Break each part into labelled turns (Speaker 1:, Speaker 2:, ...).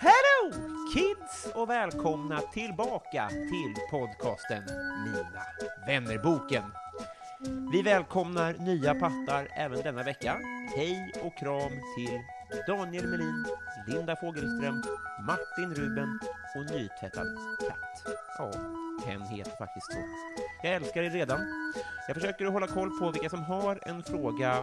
Speaker 1: Hello kids och välkomna tillbaka till podcasten Mina vännerboken. Vi välkomnar nya pattar även denna vecka. Hej och kram till Daniel Melin, Linda Fogelström, Martin Ruben och nytvättad katt. Ja, hen heter faktiskt så. Jag älskar er redan. Jag försöker att hålla koll på vilka som har en fråga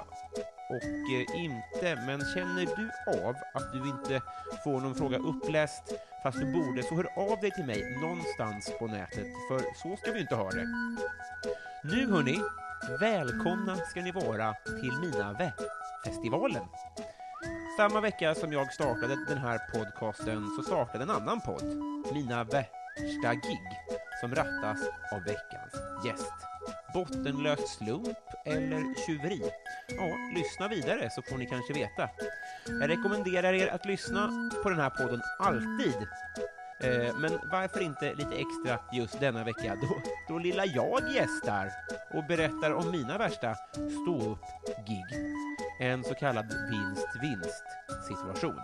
Speaker 1: och eh, inte, men känner du av att du inte får någon fråga uppläst fast du borde, så hör av dig till mig någonstans på nätet, för så ska vi inte ha det. Nu hörni, välkomna ska ni vara till Mina vä-festivalen. Samma vecka som jag startade den här podcasten så startade en annan podd, Mina värsta gig, som rattas av veckans gäst. Bottenlös slump eller tjuveri? Ja, lyssna vidare så får ni kanske veta. Jag rekommenderar er att lyssna på den här podden alltid. Eh, Men varför inte lite extra just denna vecka då, då lilla jag gästar och berättar om mina värsta stå-upp-gig. En så kallad vinst-vinst-situation.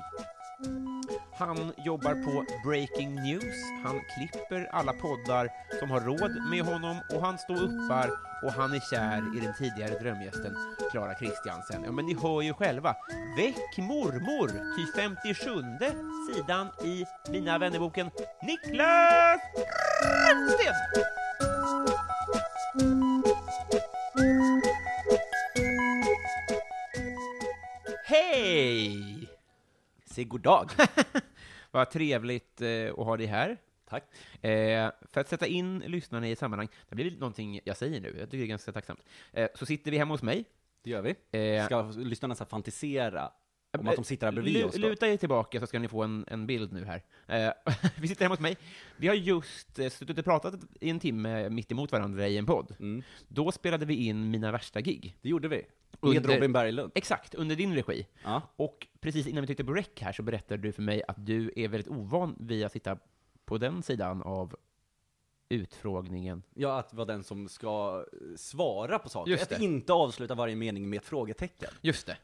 Speaker 1: Han jobbar på Breaking News, han klipper alla poddar som har råd med honom och han står uppar och han är kär i den tidigare drömgästen Clara Kristiansen. Ja, men ni hör ju själva. Väck mormor! Ty 57 sidan i Mina vännerboken Niklas Rönnsten! Hej!
Speaker 2: Säg god dag.
Speaker 1: Vad trevligt eh, att ha dig här.
Speaker 2: Tack.
Speaker 1: Eh, för att sätta in lyssnarna i ett sammanhang, det blir någonting jag säger nu, jag tycker det är ganska tacksamt. Eh, så sitter vi hemma hos mig.
Speaker 2: Det gör vi.
Speaker 1: Eh,
Speaker 2: Ska lyssnarna så här fantisera om att de sitter här bredvid
Speaker 1: Lu-
Speaker 2: oss då?
Speaker 1: Luta er tillbaka så ska ni få en, en bild nu här. Eh, vi sitter hemma hos mig. Vi har just eh, suttit och pratat i en timme mitt emot varandra i en podd.
Speaker 2: Mm.
Speaker 1: Då spelade vi in mina värsta gig.
Speaker 2: Det gjorde vi. Med
Speaker 1: Under-
Speaker 2: Robin Berglund.
Speaker 1: Exakt, under din regi.
Speaker 2: Ja.
Speaker 1: Och precis innan vi tryckte på rec här så berättade du för mig att du är väldigt ovan vid att sitta på den sidan av utfrågningen.
Speaker 2: ja, att vara den som ska eh, svara på saker.
Speaker 1: Just
Speaker 2: Att
Speaker 1: det.
Speaker 2: inte avsluta varje mening med ett frågetecken.
Speaker 1: Just det.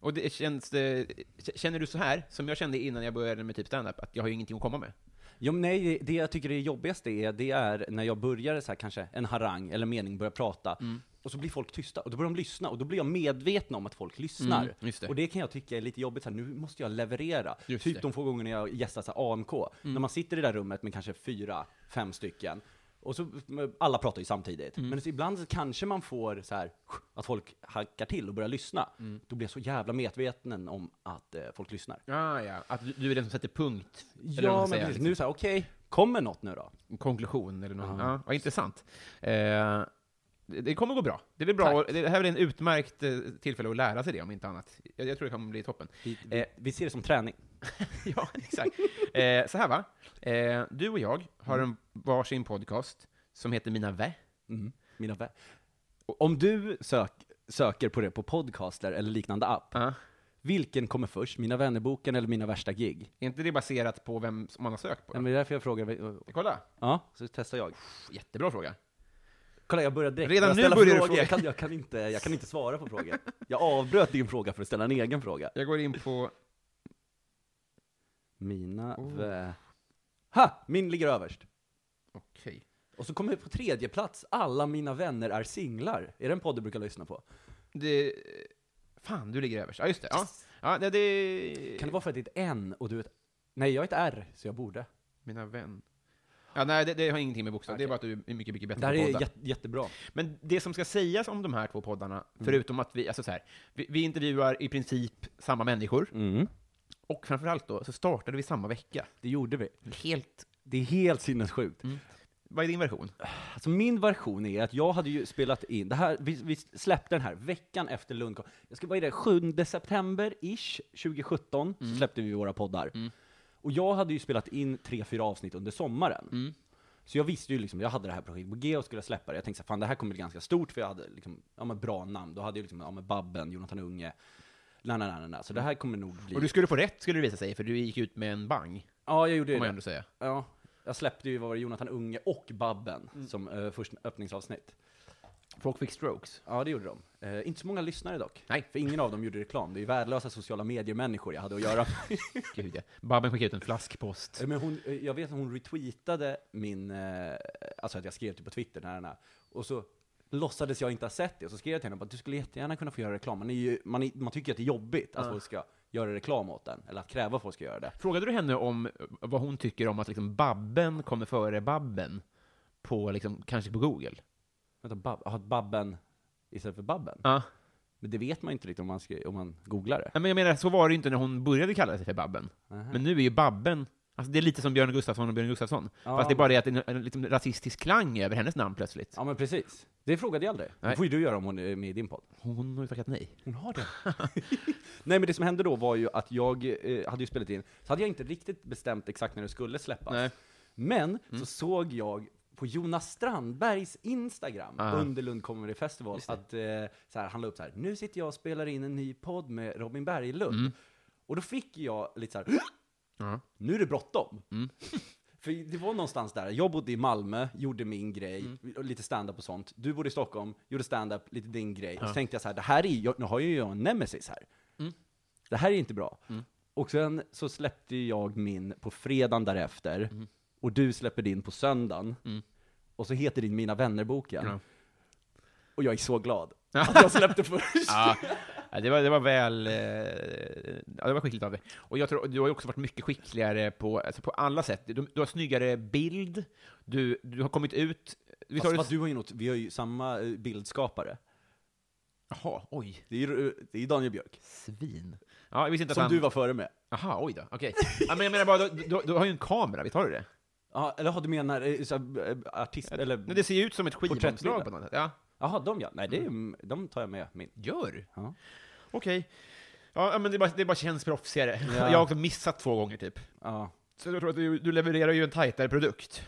Speaker 1: Och det känns, eh, k- känner du så här, som jag kände innan jag började med typ stand-up, att jag har ju ingenting att komma med?
Speaker 2: Jo, men nej, det jag tycker är jobbigaste är, det är när jag börjar så här, kanske en harang eller mening, börjar prata,
Speaker 1: Mm.
Speaker 2: och så blir folk tysta, och då börjar de lyssna, och då blir jag medveten om att folk lyssnar.
Speaker 1: Mm, just det.
Speaker 2: Och det kan jag tycka är lite jobbigt, så här, nu måste jag leverera.
Speaker 1: Just
Speaker 2: typ
Speaker 1: det. Mm.
Speaker 2: de få gångerna jag gästar så här, AMK, när man sitter i det där rummet med kanske fyra, fem stycken, och så, alla pratar ju samtidigt.
Speaker 1: Mm.
Speaker 2: Men så ibland så kanske man får så här, att folk hackar till och börjar lyssna.
Speaker 1: Mm.
Speaker 2: Då blir jag så jävla medveten om att eh, folk lyssnar.
Speaker 1: Ah, ja, att du- du är den som sätter punkt. eller vad man
Speaker 2: Ja,
Speaker 1: ska
Speaker 2: men
Speaker 1: säga,
Speaker 2: precis.
Speaker 1: liksom.
Speaker 2: Nu så här, okej, kommer något nu då?
Speaker 1: konklusion eller något.
Speaker 2: Ja.
Speaker 1: Ja, vad intressant. Eh, det- det kommer gå bra. Det blir bra.
Speaker 2: Tack.
Speaker 1: och Det här är en utmärkt eh, tillfälle att lära sig det, om inte annat. Jag, jag tror det kommer bli toppen.
Speaker 2: Vi,
Speaker 1: Eh.
Speaker 2: vi, vi ser det som träning.
Speaker 1: ja, exakt. Eh, så här va. Eh, du och jag har en varsin podcast som heter Mina vä.
Speaker 2: Mina vä- Och Om du sök, söker på det på podcaster eller liknande app,
Speaker 1: Ja.
Speaker 2: vilken kommer först? Mina vännerboken eller mina värsta gig?
Speaker 1: Är inte det baserat på vem som man har sökt på?
Speaker 2: Ja, men det är därför jag frågar.
Speaker 1: Kolla.
Speaker 2: Ja, så testar jag.
Speaker 1: Jättebra fråga.
Speaker 2: Kolla, jag börjar direkt.
Speaker 1: Redan
Speaker 2: jag
Speaker 1: nu
Speaker 2: ställa
Speaker 1: börjar du
Speaker 2: frågor.
Speaker 1: fråga.
Speaker 2: Jag kan, jag, kan inte, jag kan inte svara på frågor. Jag avbröt din fråga för att ställa en egen fråga.
Speaker 1: Jag går in på...
Speaker 2: Mina
Speaker 1: Oh.
Speaker 2: vä... Ha! Min ligger överst.
Speaker 1: Okej.
Speaker 2: Och så kommer jag på tredje plats. Alla mina vänner är singlar. Är det en podd du brukar lyssna på?
Speaker 1: Det... Fan, du ligger överst. Ja, just det. Ja. Ja, det, det...
Speaker 2: Kan det vara för att det är ett N och du är ett... Nej, jag är ett R, så jag borde.
Speaker 1: Mina vän. Ja, nej, det, det har ingenting med bokstav. Det är bara att du är mycket, mycket bättre
Speaker 2: Det här
Speaker 1: på
Speaker 2: är
Speaker 1: poddar.
Speaker 2: jätte, jättebra.
Speaker 1: Men det som ska sägas om de här två poddarna,
Speaker 2: Mm.
Speaker 1: förutom att vi, alltså så här, vi, vi intervjuar i princip samma människor,
Speaker 2: Mm.
Speaker 1: och framförallt då så startade vi samma vecka.
Speaker 2: Det gjorde vi. Mm.
Speaker 1: Helt...
Speaker 2: Det är helt sinnessjukt.
Speaker 1: Vad är din version?
Speaker 2: Alltså min version är att jag hade ju spelat in, det här, vi, vi släppte den här veckan efter Lund kom. Jag ska vara i det, 7 september-ish 2017 så släppte vi våra poddar. Och jag hade ju spelat in tre, fyra avsnitt under sommaren. Så jag visste ju liksom, jag hade det här projektet på G och skulle släppa det. Jag tänkte så här, fan det här kommer bli ganska stort för jag hade liksom, ja men bra namn. Då hade jag liksom, ja men Babben, Jonathan Unge, na, na, na, na, na. Så det här kommer nog bli...
Speaker 1: Och du skulle få rätt, skulle det visa sig, för du gick ut med en bang,
Speaker 2: ja, jag gjorde
Speaker 1: får
Speaker 2: ju
Speaker 1: man
Speaker 2: det.
Speaker 1: ändå säga.
Speaker 2: Ja, jag släppte ju vad var det, Jonathan Unge och Babben som eh, första öppningsavsnitt.
Speaker 1: Folk fick strokes.
Speaker 2: Ja, det gjorde de. Eh, inte så många lyssnare dock.
Speaker 1: Nej.
Speaker 2: För ingen av dem gjorde reklam. Det är ju värdelösa sociala medier-människor jag hade att göra med.
Speaker 1: Gud, ja. Babben skickade ut en flaskpost.
Speaker 2: Eh, Men hon, eh, jag vet att hon retweetade min, eh, alltså att jag skrev typ på Twitter, den här, den här. och så låtsades jag inte ha sett det, och så skrev jag till henne att du skulle jättegärna kunna få göra reklam. Man, är ju, man, är, man tycker ju att det är jobbigt att folk ska göra reklam åt den, eller att kräva att folk ska göra det.
Speaker 1: Frågade du henne om vad hon tycker om att liksom Babben kommer före Babben? På, liksom, kanske på Google?
Speaker 2: Vänta, bab, har Babben istället för Babben?
Speaker 1: Ja.
Speaker 2: Men det vet man ju inte riktigt om man, skri, om man googlar det.
Speaker 1: Nej, men jag menar, så var det ju inte när hon började kalla sig för Babben. Men nu är ju Babben, alltså det är lite som Björn Gustafsson och Björn Gustafsson.
Speaker 2: Ja.
Speaker 1: Fast det är bara det att det är en, en liksom rasistisk klang över hennes namn plötsligt.
Speaker 2: Ja men precis. Det frågade jag aldrig. Det
Speaker 1: Nej.
Speaker 2: får ju du göra om hon är med i din podd.
Speaker 1: Hon har ju tackat nej.
Speaker 2: Hon har det. Nej men det som hände då var ju att jag eh, hade ju spelat in, så hade jag inte riktigt bestämt exakt när det skulle släppas.
Speaker 1: Nej. Mm.
Speaker 2: Men så såg jag på Jonas Strandbergs Instagram
Speaker 1: Ah.
Speaker 2: under Lund Comedy Festival att eh, så här, han la upp så här, nu sitter jag och spelar in en ny podd med Robin Berglund. Och då fick jag lite så här,
Speaker 1: Mm. Ja. Mm.
Speaker 2: nu är det bråttom. För det var någonstans där, jag bodde i Malmö, gjorde min grej,
Speaker 1: Mm.
Speaker 2: och lite stand-up och sånt. Du bodde i Stockholm, gjorde stand-up, lite din grej. Och så tänkte jag så här, det här är ju- jag, nu har ju jag en nemesis här.
Speaker 1: Mm.
Speaker 2: Det här är inte bra. Och sen så släppte ju jag min på fredagen därefter,
Speaker 1: Mm.
Speaker 2: och du släpper din på söndagen. Och så heter din Mina vänner-boken.
Speaker 1: Ja.
Speaker 2: Och jag är så glad att jag släppte först.
Speaker 1: Ja. Ja, det, var, det var väl... Eh, ja, det var skickligt av dig. Och jag tror, du har ju också varit mycket skickligare på, alltså på alla sätt. Du, du har snyggare bild, du, du har kommit ut... Vi
Speaker 2: Fast, fast du har ju något, vi har ju samma eh, bildskapare.
Speaker 1: Jaha, oj.
Speaker 2: Det är ju eh, det är ju Daniel Björk,
Speaker 1: Svin. Ja, jag visste inte att
Speaker 2: som
Speaker 1: han...
Speaker 2: du var före med.
Speaker 1: Jaha, oj då. Okej. Ja, men jag menar bara, du, du, du har ju en kamera, visst har du det?
Speaker 2: Ja, eller har du menar eh, så här, eh, artist, eller?
Speaker 1: Men det ser ju ut som ett skivomslag
Speaker 2: Porträttbilder.
Speaker 1: på något sätt. Ja.
Speaker 2: Jaha, de ja. Nej, det är,
Speaker 1: Mm.
Speaker 2: ju- de tar jag med min.
Speaker 1: Gör?
Speaker 2: Ja.
Speaker 1: Okej. Ja, ja, men det bara, det bara känns proffsigare.
Speaker 2: Ja.
Speaker 1: Jag har också missat två gånger, typ.
Speaker 2: Ja.
Speaker 1: Så jag tror att du, du levererar ju en tajtare produkt.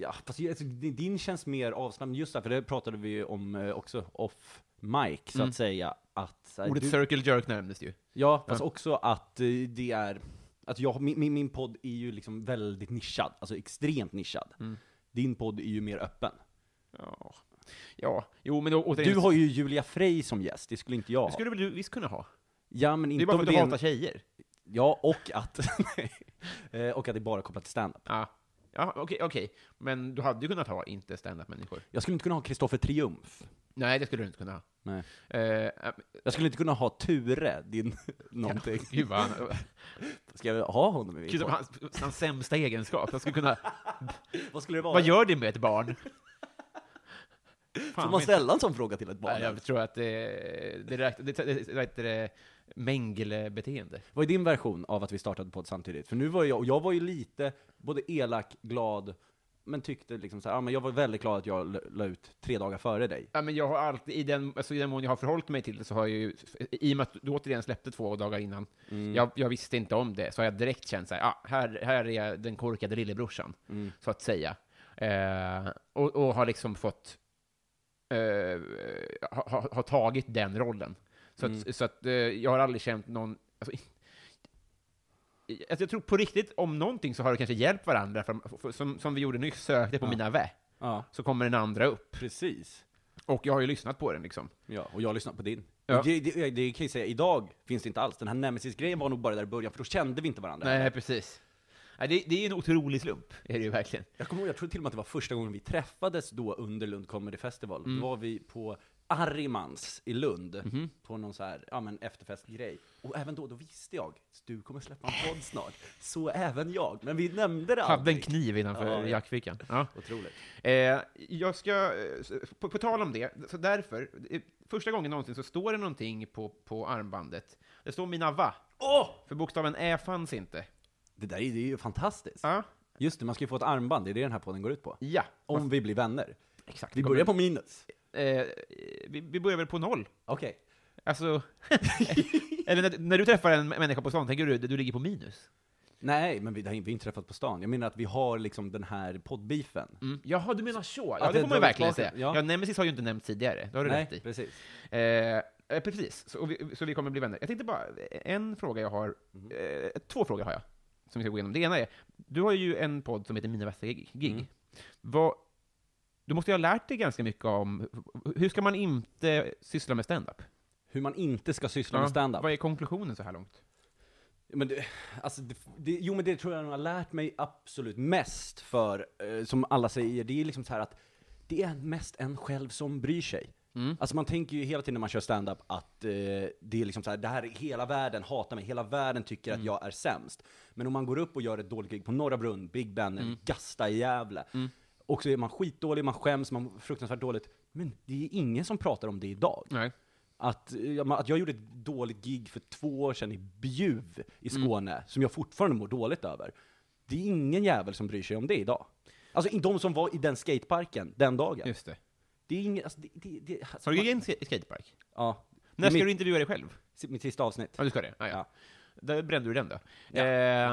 Speaker 2: ja fast ju- alltså, din din känns mer avslappnad, just därför det pratade vi ju om eh, också off mic, så att säga. Att, så här,
Speaker 1: Mm. Ordet
Speaker 2: du,
Speaker 1: circle jerk närmades ju.
Speaker 2: ja, fast också att eh, det är, att jag, min, min- min podd är ju liksom väldigt nischad, alltså extremt nischad.
Speaker 1: Mm.
Speaker 2: Din podd är ju mer öppen.
Speaker 1: Ja. Ja, jo men då, återigen.
Speaker 2: Du har ju Julia Frey som gäst, det skulle inte jag
Speaker 1: Det
Speaker 2: ha.
Speaker 1: skulle väl du visst kunna ha?
Speaker 2: Ja, men
Speaker 1: Det är
Speaker 2: inte
Speaker 1: bara
Speaker 2: om
Speaker 1: för att
Speaker 2: det
Speaker 1: du
Speaker 2: är en-
Speaker 1: hatar tjejer.
Speaker 2: Ja, och att, nej. Eh, och att det är bara kopplat till stand-up.
Speaker 1: Ja. Ja, okej, okej. Men du hade ju kunnat ha inte standup-människor.
Speaker 2: Jag skulle inte kunna ha Kristoffer Triumf.
Speaker 1: Nej, det skulle du inte kunna ha.
Speaker 2: Nej.
Speaker 1: Uh,
Speaker 2: Jag skulle inte kunna ha Ture, din någonting.
Speaker 1: gud vad han...
Speaker 2: Ska jag ha honom i min
Speaker 1: Gud,
Speaker 2: podd?
Speaker 1: hans, hans sämsta egenskap. Jag skulle kunna...
Speaker 2: Vad skulle det vara?
Speaker 1: Vad gör det med ett barn? Fan,
Speaker 2: Får man
Speaker 1: men-
Speaker 2: ställa en sån fråga till ett barn?
Speaker 1: Nej, jag tror att det, det räknas... Det, det, det, det, det Mengele-beteende.
Speaker 2: Vad är din version av att vi startade podd samtidigt? För nu var jag, och jag var ju lite, både elak, glad, men tyckte liksom så här, ja, men jag var väldigt glad att jag la- la ut tre dagar före dig.
Speaker 1: Ja, men jag har alltid, i den, alltså, i den mån jag har förhållit mig till det så har jag ju, i och med att du återigen släppte två dagar innan,
Speaker 2: Mm.
Speaker 1: jag, jag visste inte om det, så har jag direkt känt så här, ah, här, här är jag den korkade lillebrorsan,
Speaker 2: Mm.
Speaker 1: så att säga. Eh, och, och har liksom fått, eh, har ha, ha tagit den rollen. Så att,
Speaker 2: Mm.
Speaker 1: så att eh, jag har aldrig känt någon, alltså, i- alltså, jag tror på riktigt, om någonting så har det kanske hjälpt varandra, för, för, som, som vi gjorde nyss, sökte på mina vä,
Speaker 2: Ja,
Speaker 1: så kommer den andra upp.
Speaker 2: precis.
Speaker 1: Och jag har ju lyssnat på den liksom.
Speaker 2: Ja, och jag lyssnar på din.
Speaker 1: Ja.
Speaker 2: Det, det, det kan jag säga, idag finns det inte alls. Den här nemesis-grejen var nog bara där i början, för då kände vi inte varandra.
Speaker 1: Nej, precis. Nej, det, det är ju en otrolig slump, är det ju verkligen. Mm.
Speaker 2: Jag kommer ihåg, jag tror till och med att det var första gången vi träffades då under Lund Comedy Festival. Då var vi på Arrimans i Lund
Speaker 1: Mhm.
Speaker 2: på någon så här, ja men efterfestgrej. Och även då, då visste jag, du kommer släppa en podd snart. Så även jag. Men vi nämnde det
Speaker 1: Hade en
Speaker 2: aldrig.
Speaker 1: kniv innanför
Speaker 2: Ja, ja.
Speaker 1: jackfickan. Ja.
Speaker 2: Otroligt.
Speaker 1: Eh, jag ska, eh, s- på, på tal om det, så därför, eh, första gången någonsin så står det någonting på, på armbandet. Det står mina va,
Speaker 2: Åh!
Speaker 1: för bokstaven ä fanns inte.
Speaker 2: Det där är det är ju fantastiskt.
Speaker 1: Ja,
Speaker 2: Just det, man ska ju få ett armband, det är det den här podden går ut på.
Speaker 1: ja.
Speaker 2: Om vi blir vänner.
Speaker 1: Exakt.
Speaker 2: Vi börjar på minus.
Speaker 1: Eh, vi, vi börjar väl på noll.
Speaker 2: Okej.
Speaker 1: Alltså, eller när, när du träffar en människa på stan, tänker du du ligger på minus?
Speaker 2: Nej, men vi har inte träffat på stan. Jag menar att vi har liksom den här poddbeefen.
Speaker 1: Mm. Jaha, du menar så? Ja,
Speaker 2: Att
Speaker 1: det
Speaker 2: det
Speaker 1: får man ju
Speaker 2: drar
Speaker 1: verkligen
Speaker 2: tillbaka-
Speaker 1: säga. Ja.
Speaker 2: ja.
Speaker 1: Nemesis har ju inte nämnt tidigare, det har du
Speaker 2: Nej,
Speaker 1: rätt i.
Speaker 2: precis.
Speaker 1: Eh, eh, precis, så och vi, så vi kommer bli vänner. Jag tänkte bara, en fråga jag har,
Speaker 2: Mm.
Speaker 1: eh, två frågor har jag, som vi ska gå igenom. Det ena är, du har ju en podd som heter Mina bästa gig. gig.
Speaker 2: Mm.
Speaker 1: Vad, du måste ju ha lärt dig ganska mycket om, hur ska man inte syssla med stand-up?
Speaker 2: Hur man inte ska syssla med stand-up.
Speaker 1: Vad är konklusionen så här långt?
Speaker 2: Men det, alltså, det, det, jo men det tror jag nog har lärt mig absolut mest för, eh, som alla säger, det är liksom så här att det är mest en själv som bryr sig. Alltså man tänker ju hela tiden när man kör stand-up att eh, det är liksom så här, det här är hela världen hatar mig, hela världen tycker att jag är sämst. Men om man går upp och gör ett dåligt gig på Norra Brunn, Big Ben, eller Gasta i Gävle, och så är man skitdålig, man skäms, man mår fruktansvärt dåligt. Men det är ingen som pratar om det idag.
Speaker 1: Nej.
Speaker 2: Att, eh, ma- att jag gjorde ett dåligt gig för två år sedan i Bjuv i
Speaker 1: Mm.
Speaker 2: Skåne, som jag fortfarande mår dåligt över. Det är ingen jävel som bryr sig om det idag. Alltså i- de som var i den skateparken den dagen.
Speaker 1: Just det.
Speaker 2: Det är ingen, alltså, det, det, det, alltså,
Speaker 1: Har du
Speaker 2: man-
Speaker 1: egen sk- skatepark?
Speaker 2: Ja.
Speaker 1: När ska
Speaker 2: mitt,
Speaker 1: du intervjua dig själv?
Speaker 2: du... mitt sista avsnitt.
Speaker 1: Ja, du ska det? Ah, ja.
Speaker 2: Ja.
Speaker 1: Där brände du den då.
Speaker 2: Ja,
Speaker 1: Eh,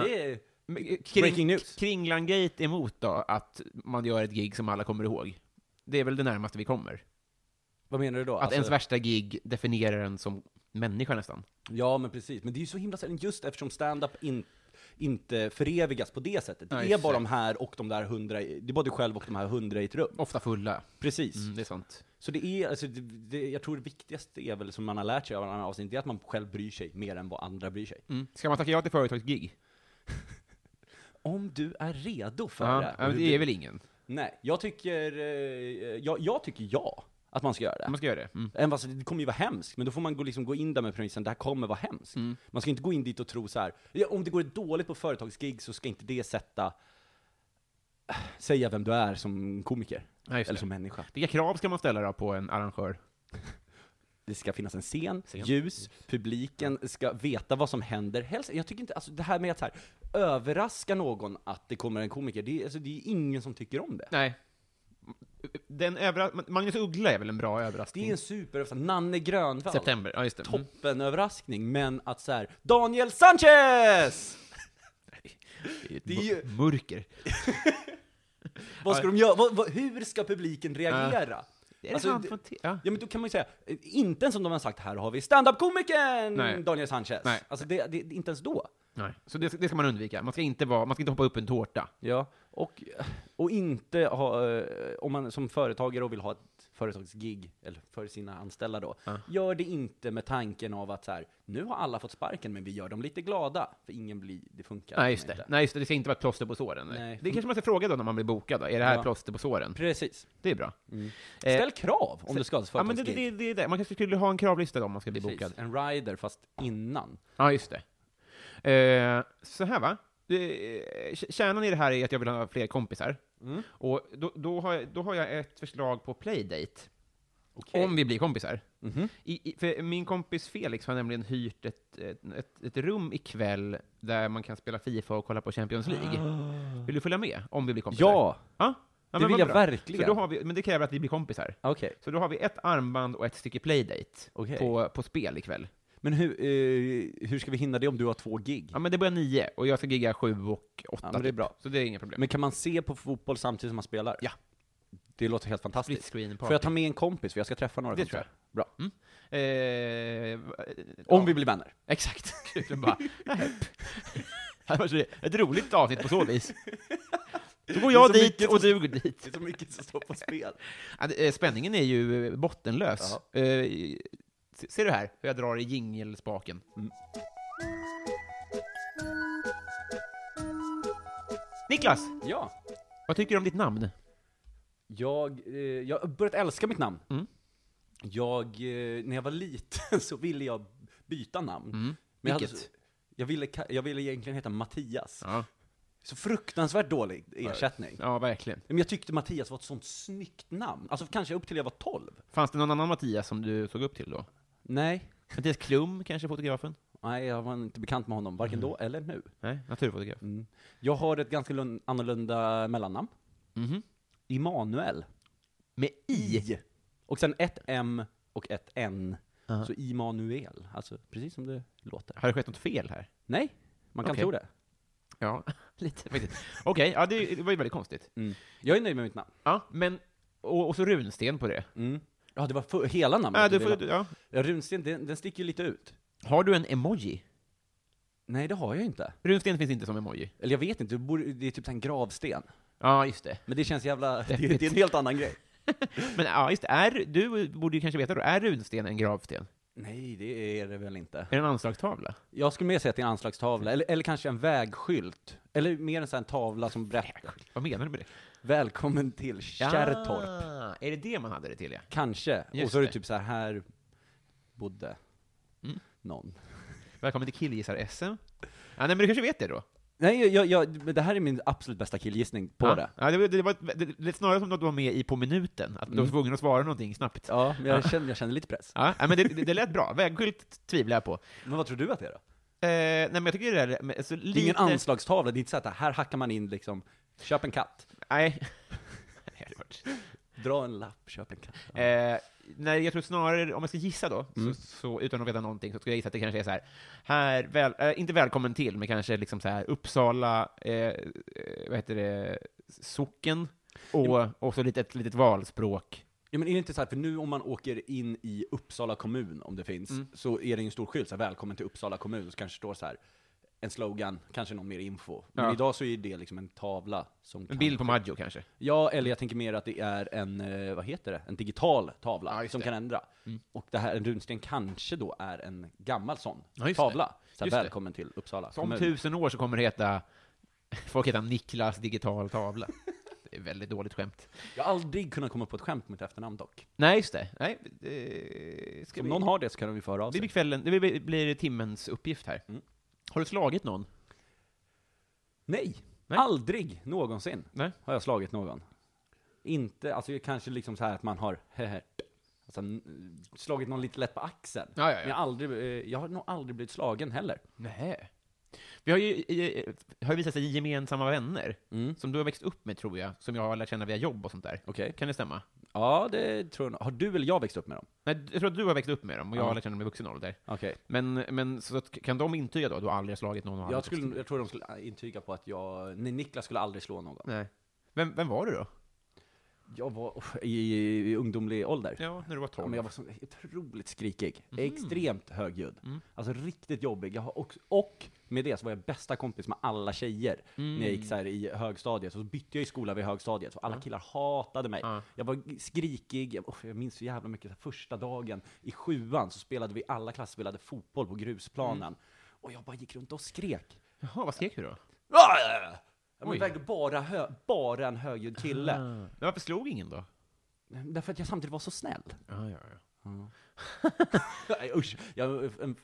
Speaker 2: Det är,
Speaker 1: men kring,
Speaker 2: breaking news.
Speaker 1: Kringlangate emot då, att man gör ett gig som alla kommer ihåg? Det är väl det närmaste vi kommer?
Speaker 2: vad menar du då? Alltså-
Speaker 1: Att ens värsta gig definierar en som människa nästan.
Speaker 2: Ja, men precis. Men det är ju så himla sällan, just eftersom stand-up in, inte förevigas på det sättet. Det
Speaker 1: Nej,
Speaker 2: är bara
Speaker 1: exakt.
Speaker 2: de här och de där hundra, i- det är bara du själv och de här hundra i ett rum.
Speaker 1: Ofta fulla.
Speaker 2: Precis.
Speaker 1: Mm, det är sant.
Speaker 2: Så det är, alltså, det, det, jag tror det viktigaste är väl, som man har lärt sig av andra avsnitt, det är att man själv bryr sig mer än vad andra bryr sig.
Speaker 1: Ska man tacka ja till företagsgig?
Speaker 2: Om du är redo för
Speaker 1: Ja,
Speaker 2: det.
Speaker 1: ja, men det är väl ingen.
Speaker 2: Nej, jag tycker, eh, jag, jag tycker ja, att man ska göra det.
Speaker 1: Man ska göra det. Mm.
Speaker 2: Även fast det kommer ju vara hemskt, men då får man gå, liksom, gå in där med premissen, det här kommer vara hemskt.
Speaker 1: Mm.
Speaker 2: Man ska inte gå in dit och tro så här. Ja, om det går dåligt på företagsgig så ska inte det sätta, säga vem du är som komiker.
Speaker 1: Ja, just
Speaker 2: eller
Speaker 1: det.
Speaker 2: som människa.
Speaker 1: Vilka krav ska man ställa då på en arrangör?
Speaker 2: Det ska finnas en scen,
Speaker 1: Scen.
Speaker 2: ljus, publiken ska veta vad som händer. Helst, jag tycker inte, alltså det här med att så här, överraska någon att det kommer en komiker, det, är- alltså, det är ingen som tycker om det.
Speaker 1: Nej. Den övra... Magnus Uggla är väl en bra överraskning?
Speaker 2: Det är en superöverraskning. Nanne Grönvall.
Speaker 1: September, ja just det. Mm.
Speaker 2: Toppenöverraskning, men att så här, Daniel Sanchez!
Speaker 1: Det
Speaker 2: är ju-
Speaker 1: mörker.
Speaker 2: Vad ska de göra? Vad, vad, hur ska publiken reagera?
Speaker 1: Är det
Speaker 2: Alltså,
Speaker 1: sant
Speaker 2: det-
Speaker 1: från te- ja.
Speaker 2: Ja men då kan man ju säga, eh, inte ens om de har sagt här har vi standup-komikern
Speaker 1: Nej.
Speaker 2: Daniel Sanchez.
Speaker 1: Nej.
Speaker 2: Alltså det, det, inte ens då.
Speaker 1: Nej. Så det, det ska man undvika. Man ska inte, vara, man ska inte hoppa upp en tårta.
Speaker 2: Ja, och, och inte ha, eh, om man som företagare och vill ha ett företagsgig, eller för sina anställda då, gör det inte med tanken av att så här, nu har alla fått sparken men vi gör dem lite glada, för ingen blir, det funkar liksom
Speaker 1: Nej just,
Speaker 2: inte.
Speaker 1: det. Nej, just det. Det ska inte vara ett plåster på såren.
Speaker 2: Nej.
Speaker 1: Det kanske man ska fråga då när man blir bokad. Då. Är det här
Speaker 2: Ja. mm.
Speaker 1: plåster på såren?
Speaker 2: Precis.
Speaker 1: Det är bra. Eh,
Speaker 2: Ställ krav om du ska ha ett
Speaker 1: Ja, men det,
Speaker 2: företagsgig.
Speaker 1: det, det, det. Man kanske skulle ha en kravlista då om man ska bli bokad.
Speaker 2: Precis. En rider, fast innan.
Speaker 1: Ja, just det. Eh, så här va? Eh, k- Kärnan i det här är att jag vill ha fler kompisar.
Speaker 2: Mm.
Speaker 1: Och då, då, har jag, då har jag ett förslag på playdate. Om vi blir kompisar.
Speaker 2: Mhm.
Speaker 1: I, i, för min kompis Felix har nämligen hyrt ett, ett, ett, ett rum ikväll där man kan spela Fifa och kolla på Champions League. Vill du följa med? Om vi blir kompisar?
Speaker 2: Ah. Ja!
Speaker 1: ja? ja
Speaker 2: Det
Speaker 1: men
Speaker 2: vill
Speaker 1: vad
Speaker 2: jag
Speaker 1: bra.
Speaker 2: verkligen.
Speaker 1: Så då har vi, men det kräver att vi blir kompisar.
Speaker 2: Okej.
Speaker 1: Så då har vi ett armband och ett stycke playdate
Speaker 2: Okej.
Speaker 1: på, på spel ikväll.
Speaker 2: Men hur, eh, hur ska vi hinna det om du har två gig?
Speaker 1: Ja, men det börjar nio och jag ska gigga sju och åtta.
Speaker 2: Ja, men det är
Speaker 1: typ.
Speaker 2: bra.
Speaker 1: Så det är inga problem.
Speaker 2: Men kan man se på fotboll samtidigt som man spelar?
Speaker 1: Ja.
Speaker 2: Det låter helt fantastiskt.
Speaker 1: Split screen party.
Speaker 2: Får jag ta med en kompis? För jag ska träffa några
Speaker 1: Det
Speaker 2: kompisar.
Speaker 1: tror
Speaker 2: Bra.
Speaker 1: Eh, va-
Speaker 2: Om
Speaker 1: ja,
Speaker 2: vi blir vänner.
Speaker 1: Exakt. Kluten bara, "Nähä." Det var så- ett roligt avsnitt på så vis. Då går jag
Speaker 2: Det är så
Speaker 1: dit
Speaker 2: mycket
Speaker 1: och
Speaker 2: som-
Speaker 1: du går dit.
Speaker 2: är så mycket som står på spel.
Speaker 1: Ja, det- eh, Spänningen är ju eh, bottenlös.
Speaker 2: Jaha.
Speaker 1: Eh, se- Ser du här hur jag drar i jingelspaken?
Speaker 2: Mm.
Speaker 1: Niklas,
Speaker 2: Ja.
Speaker 1: vad tycker du om ditt namn? Mm.
Speaker 2: Jag, eh, jag har börjat älska mitt namn. Jag, eh, när jag var liten så ville jag byta namn.
Speaker 1: Mm.
Speaker 2: Men jag, hade
Speaker 1: Vilket?
Speaker 2: så- jag, ville, ka- jag ville egentligen heta Mattias.
Speaker 1: Ja.
Speaker 2: Så fruktansvärt dålig ersättning.
Speaker 1: ja, verkligen.
Speaker 2: Men jag tyckte Mattias var ett sånt snyggt namn. Alltså kanske upp till jag var 12.
Speaker 1: Fanns det någon annan Mattias som du såg upp till då?
Speaker 2: Nej.
Speaker 1: Mattias Klum kanske, fotografen?
Speaker 2: Nej, jag var inte bekant med honom,
Speaker 1: Mm.
Speaker 2: varken då eller nu.
Speaker 1: Nej, naturfotograf.
Speaker 2: Jag har ett ganska lun- annorlunda mellannamn.
Speaker 1: Mhm.
Speaker 2: Immanuel.
Speaker 1: Med I?
Speaker 2: I. Och sen ett M och ett N.
Speaker 1: Aha.
Speaker 2: Så Immanuel. Alltså precis som det låter.
Speaker 1: Har det skett något fel här?
Speaker 2: Nej, man kan
Speaker 1: Okej.
Speaker 2: tro det.
Speaker 1: Ja, lite faktiskt. Okej, ja, det, det var ju väldigt konstigt.
Speaker 2: Mm. Jag är nöjd med mitt namn. Mm.
Speaker 1: Ja, men, och, och så runsten på det.
Speaker 2: Ja, det var för, hela namnet.
Speaker 1: Ja, du
Speaker 2: ville
Speaker 1: får,
Speaker 2: ha.
Speaker 1: ja.
Speaker 2: Ja, runsten, den, den sticker ju lite ut.
Speaker 1: Har du en emoji?
Speaker 2: Nej, det har jag ju inte.
Speaker 1: Runsten finns inte som emoji.
Speaker 2: Eller jag vet inte, det, borde, det är typ en gravsten.
Speaker 1: Ja, just det.
Speaker 2: Men det känns jävla... Det,
Speaker 1: Deppigt.
Speaker 2: det är en helt annan grej.
Speaker 1: Men ja, just det. Är, du borde ju kanske veta då, är runsten en gravsten?
Speaker 2: Nej, det är det väl inte.
Speaker 1: Är det en anslagstavla?
Speaker 2: Jag skulle mer säga att det är en anslagstavla, eller, eller kanske en vägskylt. Eller mer en sån här tavla som berättar.
Speaker 1: Vad menar du med det?
Speaker 2: Välkommen till Kärrtorp.
Speaker 1: Ah, är det det man hade det till, ja?
Speaker 2: Kanske.
Speaker 1: Just
Speaker 2: och så är det
Speaker 1: det. Mm.
Speaker 2: typ så här, här bodde någon.
Speaker 1: Välkommen till killgissar-SM. Ja, nej, men du kanske vet det då?
Speaker 2: Nej, jag, jag, men det här är min absolut bästa killgissning på
Speaker 1: ja.
Speaker 2: det.
Speaker 1: Ja, det, var- det, var, det, det lät snarare som att du var med i På minuten, att du var tvungen att svara någonting snabbt. Ja.
Speaker 2: Mm. Ja, men jag kände, jag kände lite press.
Speaker 1: nej, men det, det, det lät bra. Vägskylt tvivlar jag på. Eh,
Speaker 2: Men vad tror du att det är då?
Speaker 1: nej, men jag tycker det där är men, alltså,
Speaker 2: Det är
Speaker 1: lite...
Speaker 2: ingen anslagstavla, det är inte så att här hackar man in liksom, köp en katt,
Speaker 1: Nej. Nej, det var-
Speaker 2: dra en lapp, köp en katt. Ja. Mm.
Speaker 1: Eh, nej, jag tror snarare, om jag ska gissa då, så, så, utan att veta någonting, så skulle jag gissa att det kanske är så här, här väl, eh, inte välkommen till, men kanske liksom så här, Uppsala, eh, eh, vad heter det, socken, och, och så lite, ett litet valspråk.
Speaker 2: Ja, men är det inte så här, för nu om man åker in i Uppsala kommun, om det finns,
Speaker 1: Mm.
Speaker 2: så är det ju en stor skylt, så här, välkommen till Uppsala kommun, så kanske det står så här, en slogan, kanske någon mer info. Men
Speaker 1: Ja.
Speaker 2: idag så är det liksom en tavla som
Speaker 1: En bild på Maggio kanske.
Speaker 2: Ja, eller jag tänker mer att det är en, eh, vad heter det, en digital tavla
Speaker 1: Ja, just
Speaker 2: som
Speaker 1: det. Mm.
Speaker 2: kan ändra. Och det här, en runsten kanske då är en gammal sån
Speaker 1: Ja, just
Speaker 2: tavla. Så här,
Speaker 1: Just det.
Speaker 2: välkommen till Uppsala
Speaker 1: Så om tusen år så kommer det heta, folk heta Niklas digital tavla. Det är väldigt dåligt skämt.
Speaker 2: Jag har aldrig kunnat komma på ett skämt med mitt efternamn dock.
Speaker 1: Nej, just det. Nej, det ska
Speaker 2: Om
Speaker 1: vi...
Speaker 2: någon har det så kan de ju få höra av
Speaker 1: Det blir
Speaker 2: sig.
Speaker 1: kvällen, det blir, blir timmens uppgift här.
Speaker 2: Mm.
Speaker 1: Har du slagit någon?
Speaker 2: Nej,
Speaker 1: Nej.
Speaker 2: aldrig någonsin
Speaker 1: Nej.
Speaker 2: har jag slagit någon. Inte, alltså kanske liksom så här att man har alltså, n- slagit någon lite lätt på axeln.
Speaker 1: Ja, ja, ja.
Speaker 2: Men jag, har aldrig, eh, jag har nog aldrig blivit slagen heller.
Speaker 1: Nej. Vi har ju eh, har ju visat sig gemensamma vänner, som du har växt upp med tror jag, som jag har lärt känna via jobb och sånt där.
Speaker 2: Mm. Okej.
Speaker 1: Kan det stämma?
Speaker 2: Ja, det tror jag nog. Har du eller jag växt upp med dem?
Speaker 1: Nej, jag tror att du har växt upp med dem, och jag
Speaker 2: Ja.
Speaker 1: har lärt känna dem i vuxen ålder.
Speaker 2: Okej.
Speaker 1: Men, men så att, kan de intyga då att du aldrig har slagit någon? och aldrig
Speaker 2: Jag,
Speaker 1: vuxit
Speaker 2: skulle,
Speaker 1: upp?
Speaker 2: jag tror de skulle äh, intyga på att jag, nej, Niklas skulle aldrig slå någon.
Speaker 1: Nej. Vem, vem var du då?
Speaker 2: Jag var uff, i, i ungdomlig ålder.
Speaker 1: Ja, Mm. när du var
Speaker 2: Ja,
Speaker 1: tolv.
Speaker 2: men jag var så otroligt skrikig. Extremt högljudd.
Speaker 1: Mm.
Speaker 2: Alltså riktigt jobbig. Jag har också, och med det så var jag bästa kompis med alla tjejer när jag gick så här i högstadiet. Så bytte jag i skola vid högstadiet, så alla killar hatade mig.
Speaker 1: Ja.
Speaker 2: Jag var skrikig. Jag, uff, jag minns så jävla mycket. så här, Första dagen i sjuan så spelade vi, alla klasser spelade fotboll på grusplanen.
Speaker 1: Mm.
Speaker 2: Och jag bara gick runt och skrek.
Speaker 1: Jaha, vad skrek du då?
Speaker 2: Ja, ja, ja.
Speaker 1: Oj.
Speaker 2: Men vägde bara, hö- bara en högljudd kille.
Speaker 1: Men varför slog ingen då?
Speaker 2: Därför att jag samtidigt var så snäll.
Speaker 1: Ja, ja, ja.
Speaker 2: Mm. Nej, Usch. Jag, en- en-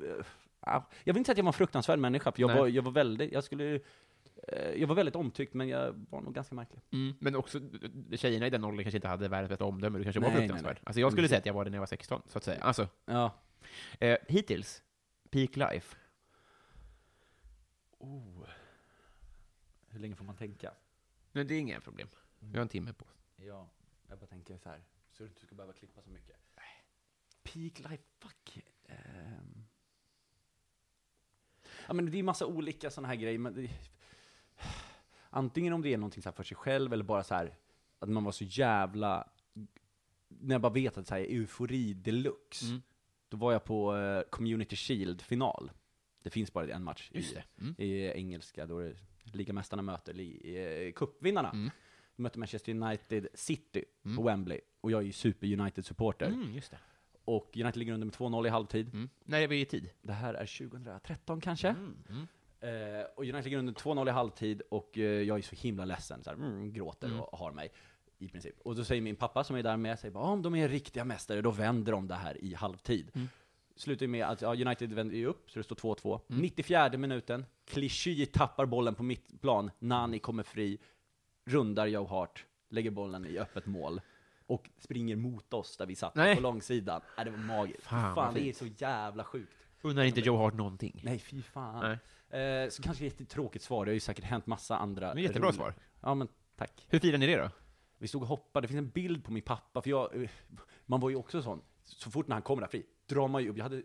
Speaker 2: ja. jag vill inte säga att jag var en fruktansvärd människa, för jag
Speaker 1: Nej.
Speaker 2: var, jag var väldigt, jag skulle, eh, jag var väldigt omtyckt, men jag var nog ganska märklig.
Speaker 1: Men också, eh, tjejerna i den åldern kanske inte hade världens bästa omdöme, du kanske var
Speaker 2: Nej, nej,
Speaker 1: fruktansvärd.
Speaker 2: nej. Mm.
Speaker 1: Alltså jag skulle
Speaker 2: Men-
Speaker 1: säga att jag var det när jag var 16, så att säga. Alltså,
Speaker 2: Ja.
Speaker 1: eh, hittills, peak life.
Speaker 2: Hur länge får man tänka?
Speaker 1: Nej, det är inga problem. Vi Mm. har en timme på oss.
Speaker 2: Ja, jag bara tänker så här, så du inte ska behöva klippa så mycket. Peak life, fuck. Ehm. Ja, men det är massa olika sådana här grejer. Men det, antingen om det är någonting så här för sig själv, eller bara så här att man var så jävla... När jag bara vet att så här, eufori deluxe. Då var jag på eh, Community Shield-final. Det finns bara en match i, i engelska, då är det ligamästarna möter li, eh, cupvinnarna. De mötte Manchester United City på Wembley, och jag är ju super-United-supporter.
Speaker 1: Mm, just det.
Speaker 2: Och United ligger under med 2-0 i halvtid.
Speaker 1: Mm. När är vi i tid?
Speaker 2: Det här är 2013 kanske?
Speaker 1: Mm,
Speaker 2: Eh, mm,
Speaker 1: Mm.
Speaker 2: och United ligger under 2-0 i halvtid och eh, jag är så himla ledsen, så här, mm, gråter och har mig. I princip. Och då säger min pappa som är där med, säger bara, "Ja, om de är riktiga mästare, då vänder de det här i halvtid.
Speaker 1: Mm.
Speaker 2: Slutar ju med att ja, United vänder ju upp, så det står 2-2.
Speaker 1: Mm.
Speaker 2: 94 minuten, Clichy tappar bollen på mittplan, Nani kommer fri, rundar Joe Hart, lägger bollen i öppet mål och springer mot oss där vi satt
Speaker 1: Nej.
Speaker 2: på långsidan. Nej, det var magiskt.
Speaker 1: Fan,
Speaker 2: Fan,
Speaker 1: vad
Speaker 2: det är så jävla sjukt.
Speaker 1: Unnar inte Joe Hart någonting.
Speaker 2: Nej, fy fan. Eh, så kanske ett tråkigt svar, det har ju säkert hänt massa andra.
Speaker 1: Det är jättebra
Speaker 2: roliga-
Speaker 1: svar.
Speaker 2: Ja, men tack.
Speaker 1: Hur firar ni det då?
Speaker 2: Vi stod och hoppade, det finns en bild på min pappa, för jag, eh, man var ju också sån. Så fort när han kommer där fri, drar man ju upp, jag hade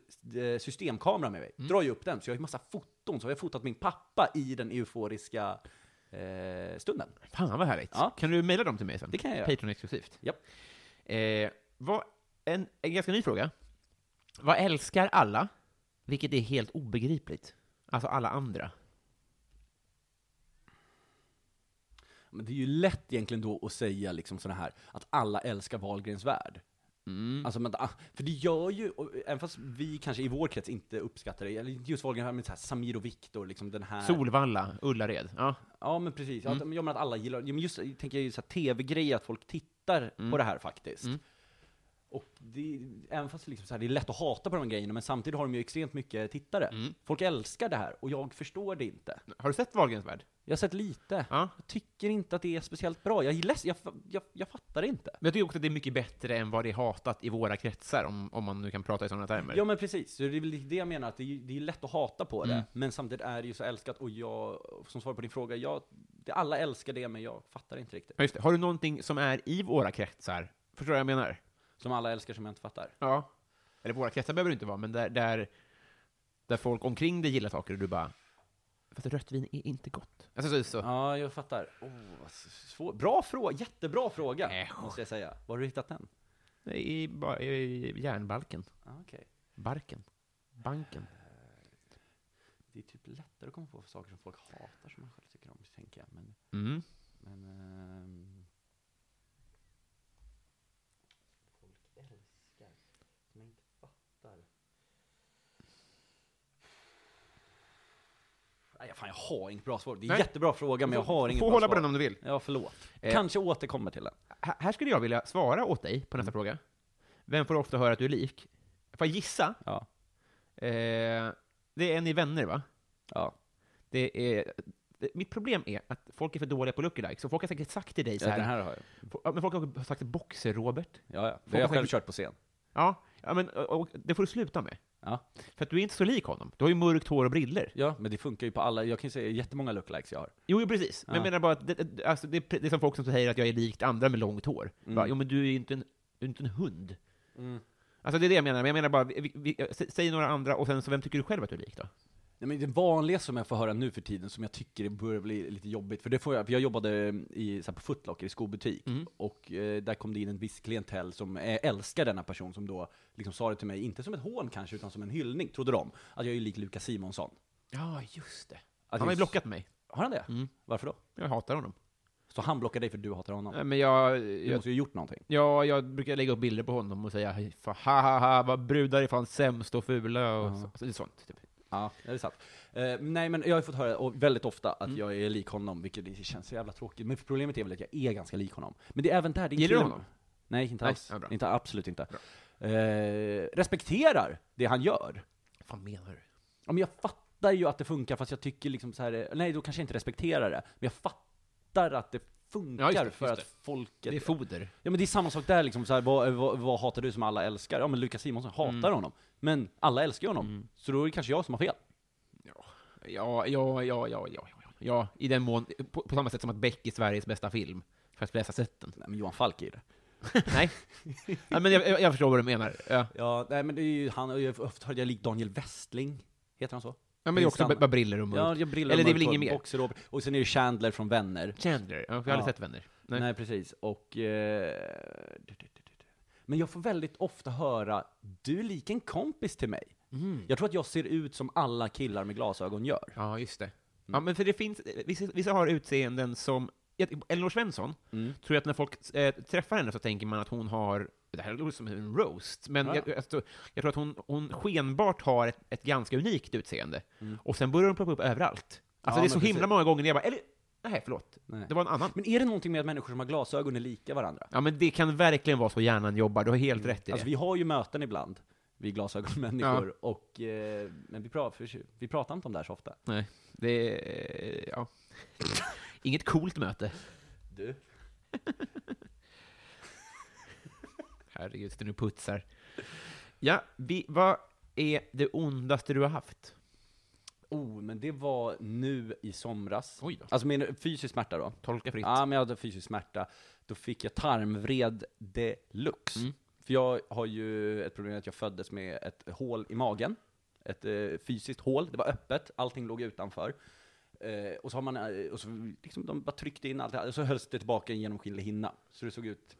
Speaker 2: eh, systemkamera med mig,
Speaker 1: Mm.
Speaker 2: drar ju upp den, så jag har ju massa foton, så har jag fotat min pappa i den euforiska eh, stunden.
Speaker 1: Fan vad härligt.
Speaker 2: Ja.
Speaker 1: Kan du mejla dem till mig sen?
Speaker 2: Det kan jag göra.
Speaker 1: Patreon exklusivt.
Speaker 2: Japp.
Speaker 1: Eh, vad, en, en ganska ny fråga. Vad älskar alla, vilket är helt obegripligt? Alltså alla andra.
Speaker 2: Men det är ju lätt egentligen då att säga liksom sådana här, att alla älskar Wahlgrens värld. Alltså, men, ah, för det gör ju, och, även fast vi kanske i vår krets inte uppskattar det, eller inte just Wahlgrens värld, men så här, Samir och Viktor, liksom den
Speaker 1: Äh.
Speaker 2: här...
Speaker 1: Solvalla, Ullared. Ja.
Speaker 2: Ja, men precis. Ja, att- ja, men att alla gillar ja, men just jag tänker jag ju så här tv-grejer, att folk tittar på det här faktiskt. Och det, även fast det liksom så här, det är lätt att hata på de här grejerna, men samtidigt har de ju extremt mycket tittare. Folk älskar det här, och jag förstår det inte.
Speaker 1: Har du sett Wahlgrens värld?
Speaker 2: Jag har sett lite.
Speaker 1: Ja.
Speaker 2: Jag tycker inte att det är speciellt bra. Jag, är leds- jag, fa- jag, jag fattar det inte.
Speaker 1: Men jag tycker också att det är mycket bättre än vad det är hatat i våra kretsar, om, om man nu kan prata i sådana termer.
Speaker 2: Ja men precis, Så det är väl det jag menar, att det är, ju- det är lätt att hata på det, men samtidigt är det ju så älskat, och jag, som svar på din fråga, jag, det, alla älskar det, men jag fattar inte riktigt.
Speaker 1: Ja, just det. Har du någonting som är i våra kretsar? Förstår du vad jag menar?
Speaker 2: Som alla älskar som jag inte fattar.
Speaker 1: Ja. Eller våra kretsar behöver det inte vara, men där, där, där folk omkring dig gillar saker och du bara Fast rött vin är inte gott. Alltså, så, så.
Speaker 2: Ja, jag fattar. Oh, vad s- svår. Bra fråga, jättebra fråga,
Speaker 1: Äsch.
Speaker 2: måste jag säga. Var har du hittat den?
Speaker 1: I, ba- I järnbalken.
Speaker 2: Ah, okej.
Speaker 1: Barken. Banken.
Speaker 2: Det är typ lättare att komma på saker som folk hatar som man själv tycker om, tänker jag. Men,
Speaker 1: Mm.
Speaker 2: men ehm, Folk älskar som jag inte fattar. Nej, fan, jag har inget bra svar. Det är en
Speaker 1: Nej.
Speaker 2: jättebra fråga, men jag har inget
Speaker 1: Få
Speaker 2: bra
Speaker 1: hålla
Speaker 2: svar.
Speaker 1: på den om du vill.
Speaker 2: Ja, förlåt.
Speaker 1: Eh.
Speaker 2: Kanske återkommer till den.
Speaker 1: H- här skulle jag vilja svara åt dig på
Speaker 2: Mm.
Speaker 1: nästa fråga. Vem får ofta höra att du är lik? Får jag gissa?
Speaker 2: Ja.
Speaker 1: Eh, det är en i Vänner, va?
Speaker 2: Ja.
Speaker 1: Det är, det, mitt problem är att folk är för dåliga på lookalikes, så folk har säkert sagt till dig så
Speaker 2: ja, den
Speaker 1: här,
Speaker 2: här har jag.
Speaker 1: Fo- ja, men folk har sagt Boxer-Robert.
Speaker 2: Ja, ja. Det
Speaker 1: har
Speaker 2: har jag själv
Speaker 1: säkert-
Speaker 2: kört på scen.
Speaker 1: Ja, ja men och, och, det får du sluta med.
Speaker 2: Ja.
Speaker 1: För att du är inte så lik honom. Du har ju mörkt hår och briller.
Speaker 2: Ja, men det funkar ju på alla. Jag kan ju säga jättemånga lookalikes jag har.
Speaker 1: Jo, jo precis. Men
Speaker 2: Ja.
Speaker 1: jag menar bara att det, det- alltså, det, är pre- det är som folk som säger att jag är likt andra med långt hår. Bara, jo, men du är ju inte en, du är inte en hund. Alltså det är det jag menar, men jag menar bara, vi, vi, jag- sä- säg några andra, och sen så vem tycker du själv att du är lik då?
Speaker 2: Nej, men det vanliga som jag får höra nu för tiden, som jag tycker börjar bli lite jobbigt, för det får jag, för jag jobbade i, så här, på Foot Locker i skobutik,
Speaker 1: Mm.
Speaker 2: och eh, där kom det in en viss klientell som eh, älskar denna person, som då liksom sa det till mig, inte som ett hån kanske, utan som en hyllning, trodde de, att jag är lik Lukas Simonsson.
Speaker 1: Ja, just det.
Speaker 2: Att
Speaker 1: Han har ju
Speaker 2: jag-
Speaker 1: blockat Mm. mig.
Speaker 2: Har han det? Varför då?
Speaker 1: Jag hatar honom.
Speaker 2: Så han blockar dig för att du hatar honom?
Speaker 1: Nej, Men jag,
Speaker 2: Du
Speaker 1: Eh, jag,
Speaker 2: måste ju ha gjort någonting.
Speaker 1: ja, jag brukar lägga upp bilder på honom och säga "Hej, fa- ha ha ha, vad brudar är fan sämst och fula och så, så, sånt. Typ.
Speaker 2: Ja, det är sant. Eh, nej, men jag har ju fått höra och väldigt ofta att
Speaker 1: Mm.
Speaker 2: jag är lik honom, vilket det känns så jävla tråkigt. Men problemet är väl att jag är ganska lik honom. Men det är även där det är en
Speaker 1: Gillar du
Speaker 2: kille-
Speaker 1: honom?
Speaker 2: Nej, inte
Speaker 1: Nej,
Speaker 2: alls.
Speaker 1: ja, bra.
Speaker 2: inte, absolut inte. Eh, respekterar det han gör.
Speaker 1: Vad fan menar du?
Speaker 2: Ja, men jag fattar ju att det funkar, fast jag tycker liksom så här, eh, nej då kanske jag inte respekterar det. Men jag fattar att det funkar
Speaker 1: Ja, just det,
Speaker 2: för
Speaker 1: just
Speaker 2: att
Speaker 1: det.
Speaker 2: folket...
Speaker 1: Det är foder.
Speaker 2: Ja men det är samma sak där liksom, så här, vad, vad, vad hatar du som alla älskar? Ja men Lukas Simonsson hatar
Speaker 1: Mm.
Speaker 2: honom. Men alla älskar ju honom. Så då är det kanske jag som har fel.
Speaker 1: Ja, ja, ja, ja, ja, ja. ja i den mån, på, på samma sätt som att Beck är Sveriges bästa film, fast på det här sätten.
Speaker 2: Nej men Johan Falk är ju det.
Speaker 1: Nej. ja, men jag, jag- jag förstår vad du menar. Ja.
Speaker 2: Ja, nej men det är ju han, jag har hörde jag lik Daniel Westling, heter han så?
Speaker 1: Ja, men det är också
Speaker 2: Minns han?
Speaker 1: bara briller och mörkt.
Speaker 2: Ja, jag brillar
Speaker 1: Eller det är väl
Speaker 2: mörkt hår,
Speaker 1: inget mer?
Speaker 2: boxer och- Och sen är det Chandler från Vänner.
Speaker 1: Chandler, ja, för jag har
Speaker 2: Ja.
Speaker 1: aldrig sett Vänner. Nej.
Speaker 2: Nej, precis, och... Eh, du, du, du, du, du. men jag får väldigt ofta höra, du är lik en kompis till mig. Jag tror att jag ser ut som alla killar med glasögon gör.
Speaker 1: Ja, just det.
Speaker 2: Mm.
Speaker 1: Ja, men för det finns, vissa, vissa har utseenden som, jag- Elinor Svensson,
Speaker 2: Mm.
Speaker 1: tror jag att när folk eh, träffar henne så tänker man att hon har, det här låter som en roast, men
Speaker 2: Ja.
Speaker 1: jag, jag, tror- jag tror att hon, hon skenbart har ett, ett ganska unikt utseende. Och sen börjar hon ploppa upp överallt. Alltså
Speaker 2: Mm. Ja,
Speaker 1: det är
Speaker 2: men
Speaker 1: så himla
Speaker 2: precis.
Speaker 1: många gånger när jag bara, eller, Nej, förlåt.
Speaker 2: Nej.
Speaker 1: Det var en annan.
Speaker 2: Men är det någonting med att människor som har glasögon är lika varandra?
Speaker 1: Ja, men det kan verkligen vara så hjärnan jobbar. Du har helt rätt i det.
Speaker 2: Alltså vi har ju möten ibland, vi glasögonmänniskor, och, eh, men vi, pra för, vi pratar inte om det här så ofta.
Speaker 1: Nej, det är... eh, Ja. Inget coolt möte.
Speaker 2: Du?
Speaker 1: Herregud, sitter nu och putsar. Ja, vi, vad är det ondaste du har haft?
Speaker 2: Oh, men det var nu i somras.
Speaker 1: Oj då.
Speaker 2: Alltså min fysisk smärta då.
Speaker 1: Tolka fritt.
Speaker 2: Ja, men jag hade fysisk smärta. Då fick jag tarmvred deluxe. För jag har ju ett problem med att jag föddes med ett hål i magen. Ett eh, fysiskt hål. Det var öppet, allting låg utanför. Eh, och så har man, eh, och så liksom, de bara tryckte in allt, och så hölls det tillbaka i en genomskinlig hinna. Så det såg ut,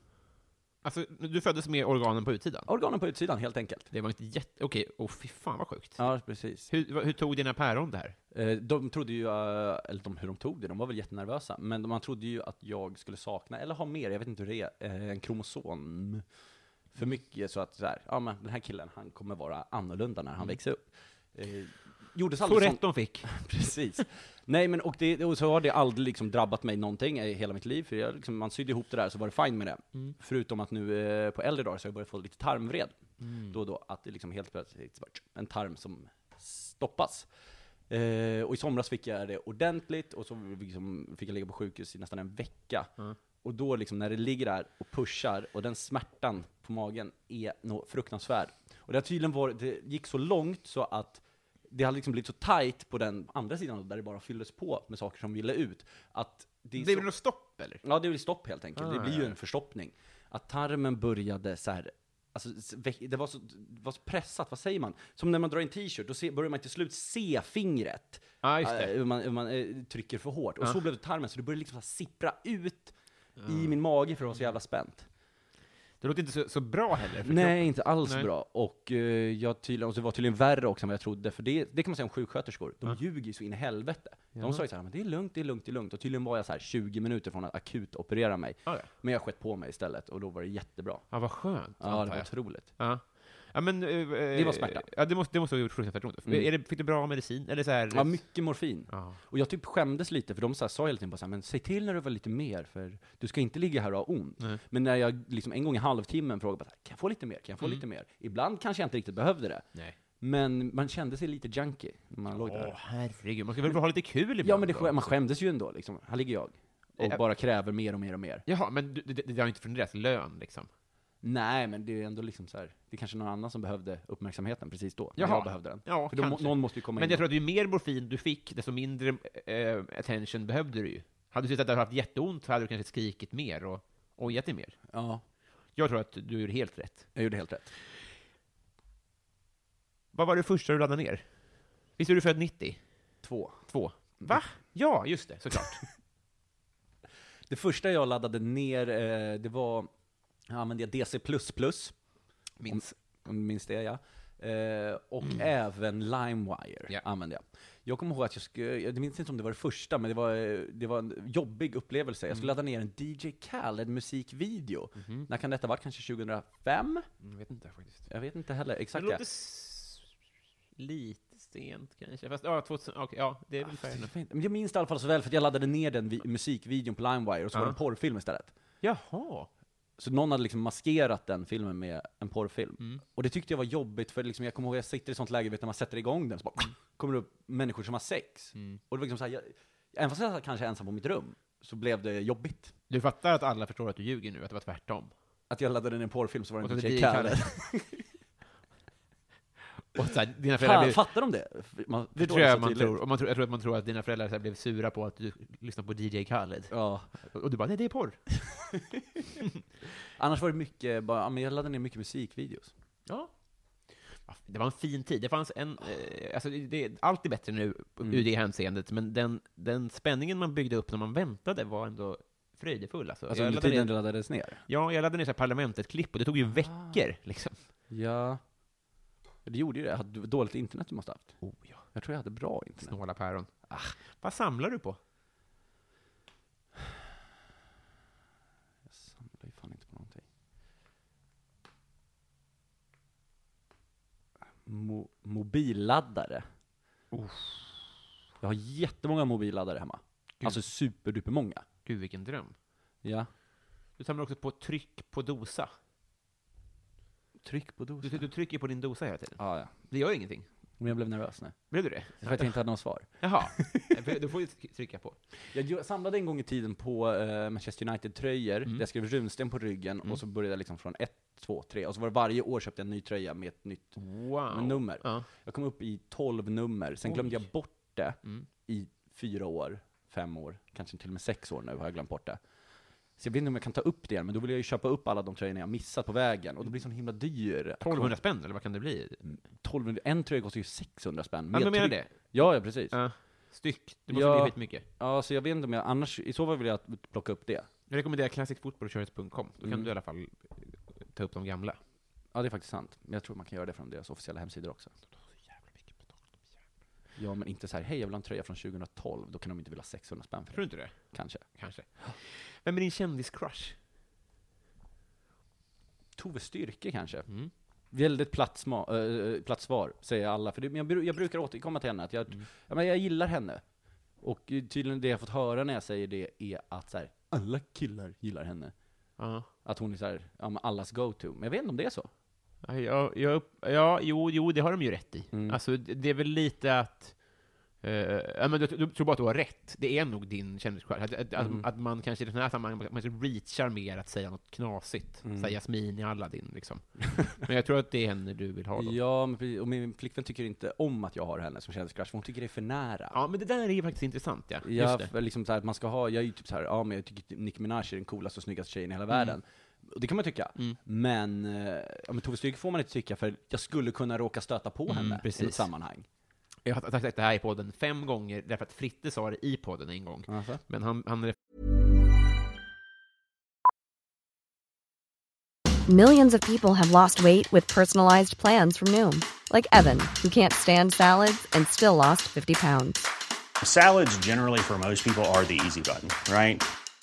Speaker 1: Alltså, du föddes med organen på utsidan?
Speaker 2: organen på utsidan helt enkelt.
Speaker 1: Det var inte jätte... Okej, åh fy fan vad sjukt.
Speaker 2: Ja, precis.
Speaker 1: Hur, vad- hur tog dina päron det här?
Speaker 2: Eh, De trodde ju, eh, eller de, hur de tog det, de var väl jättenervösa, men de- man trodde ju att jag skulle sakna, eller ha mer, jag vet inte hur det är, eh, en kromosom för mycket, så att så här, ja men den här killen, han kommer vara annorlunda när han växer upp. Eh, Gjordes
Speaker 1: Så
Speaker 2: aldrig sån-
Speaker 1: rätt de fick.
Speaker 2: Precis. Nej men, och, det, och så har det aldrig liksom drabbat mig någonting i hela mitt liv, för jag, liksom, man sydde ihop det där så var det fine med det. Förutom att nu eh, på äldre dagar så har jag börjat få lite tarmvred. Då och då, att det liksom helt plötsligt bara, tsk, en tarm som stoppas. Eh, och i somras fick jag det ordentligt, och så liksom fick jag ligga på sjukhus i nästan en vecka. Och då liksom, när det ligger där och pushar, och den smärtan på magen är nå fruktansvärd. Och det har tydligen varit, det gick så långt så att det hade liksom blivit så tight på den andra sidan, där det bara fylldes på med saker som ville ut, att det är
Speaker 1: Det
Speaker 2: så-
Speaker 1: blev något stopp, eller?
Speaker 2: Ja, det blir stopp helt enkelt. det
Speaker 1: Ah,
Speaker 2: blir ju
Speaker 1: ja.
Speaker 2: en förstoppning. Att tarmen började så här, alltså, s- vä- det var så, det var så pressat, vad säger man? Som när man drar en t-shirt, då se, börjar man till slut se fingret.
Speaker 1: Ja, just det. Ah.
Speaker 2: Eh, hur man, hur man eh, trycker för hårt. Och
Speaker 1: Ja.
Speaker 2: så blev det tarmen, så det började liksom så här sippra ut
Speaker 1: Ah.
Speaker 2: i min mage för att det var så jävla spänt.
Speaker 1: Det låter inte så, så bra heller. för
Speaker 2: Nej, inte alls
Speaker 1: Nej.
Speaker 2: bra. Och, eh, jag tydligen, och det var tydligen värre också än vad jag trodde, för det, det kan man säga om sjuksköterskor, de ljuger ju så in i helvete. De sa ju såhär, men det är lugnt, det är lugnt, det är lugnt. Och tydligen var jag så här 20 minuter från att akut operera mig.
Speaker 1: Ja, ja.
Speaker 2: Men jag skett på mig istället, och då var det jättebra.
Speaker 1: Ja, vad skönt.
Speaker 2: Ja, det
Speaker 1: antar
Speaker 2: var
Speaker 1: jag.
Speaker 2: otroligt.
Speaker 1: Ja. Ja, men, det
Speaker 2: var smärta.
Speaker 1: Ja, det måste, det måste ha gjort fruktansvärt ont.
Speaker 2: Mm.
Speaker 1: Är det, fick du bra medicin? Eller så här,
Speaker 2: Ja, mycket morfin.
Speaker 1: Ja.
Speaker 2: Och jag typ skämdes lite, för de så här, sa hela tiden bara så här, men säg till när du var lite mer, för du ska inte ligga här och ha ont. Men när jag liksom en gång i halvtimmen frågade bara, så här, kan jag få lite mer, kan jag få
Speaker 1: Mm.
Speaker 2: lite mer? Ibland kanske jag inte riktigt behövde det.
Speaker 1: Nej.
Speaker 2: Men man kände sig lite junkie när man låg
Speaker 1: Åh,
Speaker 2: där.
Speaker 1: herregud. Man ska väl ha lite kul ibland?
Speaker 2: Ja men det,
Speaker 1: då?
Speaker 2: skä- man skämdes ju ändå liksom. Här ligger jag. Och
Speaker 1: Ja.
Speaker 2: bara kräver mer och mer och mer.
Speaker 1: Jaha, men du, det, det det har inte från deras lön, liksom?
Speaker 2: Nej men det är ändå liksom så här. det är kanske någon annan som behövde uppmärksamheten precis då. när
Speaker 1: Jaha.
Speaker 2: Jag behövde den.
Speaker 1: Ja,
Speaker 2: För då, må-
Speaker 1: kanske.
Speaker 2: någon måste ju komma
Speaker 1: Men
Speaker 2: in.
Speaker 1: jag
Speaker 2: och-
Speaker 1: tror att ju mer morfin du fick, desto mindre eh, attention behövde du ju. Hade du sett att du hade haft jätteont så hade du kanske skrikit mer och ojat dig mer.
Speaker 2: Ja,
Speaker 1: Jag tror att du är helt rätt.
Speaker 2: jag gjorde helt rätt.
Speaker 1: Vad var det första du laddade ner? Visst är du född 90?
Speaker 2: Två.
Speaker 1: Två? Va? Ja, just det, såklart.
Speaker 2: Det första jag laddade ner, eh, det var, jag använde jag DC++. Minns. Om, minns det ja. Eh, och även LimeWire
Speaker 1: Mm. Ja.
Speaker 2: använde jag. Jag kommer ihåg att jag skulle, jag minns inte om det var det första, men det var, eh, det var en jobbig upplevelse. Jag skulle
Speaker 1: Mm.
Speaker 2: ladda ner en DJ Khaled musikvideo.
Speaker 1: Mhm.
Speaker 2: När kan detta ha varit? Kanske 2005?
Speaker 1: Jag Mm, vet inte faktiskt.
Speaker 2: Jag vet inte heller
Speaker 1: Det
Speaker 2: exakt.
Speaker 1: låter s- lite sent kanske. Fast ja, 2000, okay, ja det är väl fair enough.
Speaker 2: Men jag minns det i alla fall så väl, för att jag laddade ner den vi- musikvideon på LimeWire, och så var det en porrfilm istället.
Speaker 1: Jaha.
Speaker 2: Så någon hade liksom maskerat den filmen med en porrfilm.
Speaker 1: Mm.
Speaker 2: Och det tyckte jag var jobbigt, för liksom, jag kommer ihåg att jag sitter i ett sånt läge, vet, när man sätter igång den, så bara,
Speaker 1: Mm.
Speaker 2: kommer det upp människor som har sex. Och det var liksom så här, jag, även fast jag satt kanske ensam på mitt rum, så blev det jobbigt.
Speaker 1: Du fattar att alla förstår att du ljuger nu, att det var tvärtom?
Speaker 2: Att jag laddade ner en porrfilm så var
Speaker 1: Och
Speaker 2: det
Speaker 1: så
Speaker 2: inte
Speaker 1: DJ
Speaker 2: DJ
Speaker 1: Khaled.
Speaker 2: Khaled.
Speaker 1: Och så här, dina föräldrar
Speaker 2: Fan,
Speaker 1: blev...
Speaker 2: Fattar de det? Man
Speaker 1: Det
Speaker 2: förstår
Speaker 1: tror
Speaker 2: så
Speaker 1: jag man
Speaker 2: tydligt.
Speaker 1: tror. Och man tror. Jag tror att man tror att dina föräldrar så här blev sura på att du lyssnar på DJ Khaled.
Speaker 2: Ja.
Speaker 1: Och du bara, nej det är porr.
Speaker 2: Annars var det mycket, bara, ja, men jag laddade ner mycket musikvideos.
Speaker 1: Ja. Det var en fin tid. Det fanns en, eh, alltså det, allt är bättre nu
Speaker 2: Mm.
Speaker 1: ur det hänseendet, men den, den spänningen man byggde upp när man väntade var ändå fröjdefull. Alltså.
Speaker 2: Alltså
Speaker 1: jag,
Speaker 2: under
Speaker 1: laddade
Speaker 2: tiden Ah.
Speaker 1: ner,
Speaker 2: det laddades ner.
Speaker 1: ja, jag laddade ner så här Parlamentet-klipp och det tog ju veckor. Liksom.
Speaker 2: Ja. Det gjorde ju det. Jag hade dåligt internet du måste ha haft.
Speaker 1: Oh, ja.
Speaker 2: Jag tror jag hade bra internet.
Speaker 1: Snåla päron. Ah, Vad samlar du på?
Speaker 2: Jag samlar ju fan inte på någonting. Mo- mobilladdare. Jag har jättemånga mobilladdare hemma. Alltså superduper många.
Speaker 1: Gud, vilken dröm.
Speaker 2: Ja.
Speaker 1: Du samlar också på tryck på dosa.
Speaker 2: Tryck på dosan.
Speaker 1: Du, du trycker på din dosa hela tiden.
Speaker 2: Ja, ja.
Speaker 1: Det gör ingenting.
Speaker 2: Men jag blev nervös nu.
Speaker 1: Blev du det?
Speaker 2: För att jag inte hade något svar.
Speaker 1: Jaha. du får ju trycka på.
Speaker 2: Jag gö- samlade en gång i tiden på eh, Manchester United-tröjor,
Speaker 1: Mm.
Speaker 2: där jag skrev runsten på ryggen, och så började jag liksom från 1, 2, 3, och så var det varje år köpte jag en ny tröja med ett nytt
Speaker 1: Wow.
Speaker 2: nummer.
Speaker 1: Ja.
Speaker 2: Jag kom upp i 12 nummer, sen glömde jag bort det
Speaker 1: Mm.
Speaker 2: i fyra år, fem år, kanske till och med sex år nu har jag glömt bort det. Så jag vet inte om jag kan ta upp det igen, men då vill jag ju köpa upp alla de tröjorna jag missat på vägen, och då blir det sån himla dyr.
Speaker 1: 1200 spänn, eller vad kan det bli?
Speaker 2: 1200, en tröja kostar ju 600 spänn.
Speaker 1: Ja,
Speaker 2: med
Speaker 1: men menar
Speaker 2: tryck.
Speaker 1: det?
Speaker 2: Ja, ja precis.
Speaker 1: Ja. Styck. Det måste
Speaker 2: Ja.
Speaker 1: bli skitmycket.
Speaker 2: Ja, så jag vet inte om jag, annars, i så fall vill jag plocka upp det.
Speaker 1: Jag rekommenderar classicfootballshirts.com. Då kan
Speaker 2: Mm.
Speaker 1: du i alla fall eh, ta upp de gamla.
Speaker 2: Ja, det är faktiskt sant. Men jag tror man kan göra det från deras officiella hemsidor också. Ja, men inte så här, hej jag vill ha en tröja från 2012, då kan de inte vilja ha 600 spänn för
Speaker 1: Tror du
Speaker 2: det.
Speaker 1: inte det?
Speaker 2: Kanske.
Speaker 1: Kanske. Vem är din kändiscrush?
Speaker 2: Tove Styrke kanske.
Speaker 1: Mm.
Speaker 2: Väldigt platt, sma, eh, platt svar, säger alla. För det, men jag, bru- jag brukar återkomma till henne, att jag,
Speaker 1: Mm.
Speaker 2: ja, men jag gillar henne. Och eh, tydligen det jag fått höra när jag säger det är att så här, alla killar gillar henne.
Speaker 1: Ja.
Speaker 2: Att hon är så här, ja, men allas go-to. Men jag vet inte om det är så.
Speaker 1: Ja, jag, jag, upp- ja jo, jo, det har de ju rätt i. Alltså, det det är väl lite att... eh, ja, men du, du tror bara att du har rätt. Det är nog din kändisskärm. Att, att, att- att man kanske i den här sammanhanget man kanske reachar mer att säga något knasigt. Säga Jasmin i Aladdin, liksom. men jag tror att det är henne du vill ha då. Ja.
Speaker 2: Ja, men, precis. och min flickvän tycker inte om att jag har henne som kändiscrush, för hon tycker det är för nära.
Speaker 1: men det där är ju faktiskt intressant, ja. Just
Speaker 2: Ja,
Speaker 1: det.
Speaker 2: för liksom så här, att man ska ha, jag är ju typ så här, ja men jag tycker att Nicki Minaj är den coolaste och snyggaste tjejen i hela världen. Och det kan man tycka. Men, eh, ja, men Tove Styrke får man inte tycka för jag skulle kunna råka stöta på henne i
Speaker 1: precis.
Speaker 2: något sammanhang.
Speaker 1: Jag har sagt det här i podden fem gånger, därför att Fritte sa det i podden en gång.
Speaker 2: Alltså.
Speaker 1: Men han, han
Speaker 3: Millions of people have lost weight with personalized plans from Noom, like Evan, who can't stand salads and still lost 50 pounds.
Speaker 4: Salads, generally, for most people, are the easy button, right?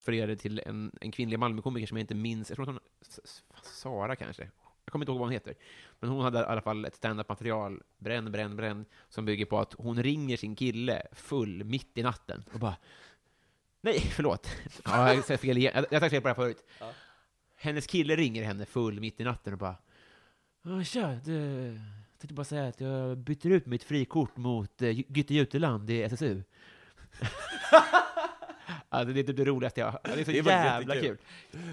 Speaker 1: refererade till en, en kvinnlig Malmökomiker som jag inte minns, jag tror att hon, S- S- Sara kanske? Jag kommer inte ihåg vad hon heter. Men hon hade i alla fall ett stand-up material, bränn, bränn, bränn, som bygger på att hon ringer sin kille full mitt i natten och bara Nej, förlåt. Ja, jag sa fel igen. Jag jag har sagt fel på det här förut. Hennes kille ringer henne full mitt i natten och bara "Ja, Tja, du, jag tänkte bara säga att jag byter ut mitt frikort mot eh, Gytte Juteland i SSU. Alltså, det är typ det roligaste jag har Det är så
Speaker 2: Det är faktiskt
Speaker 1: jävla kul.
Speaker 2: jättekul.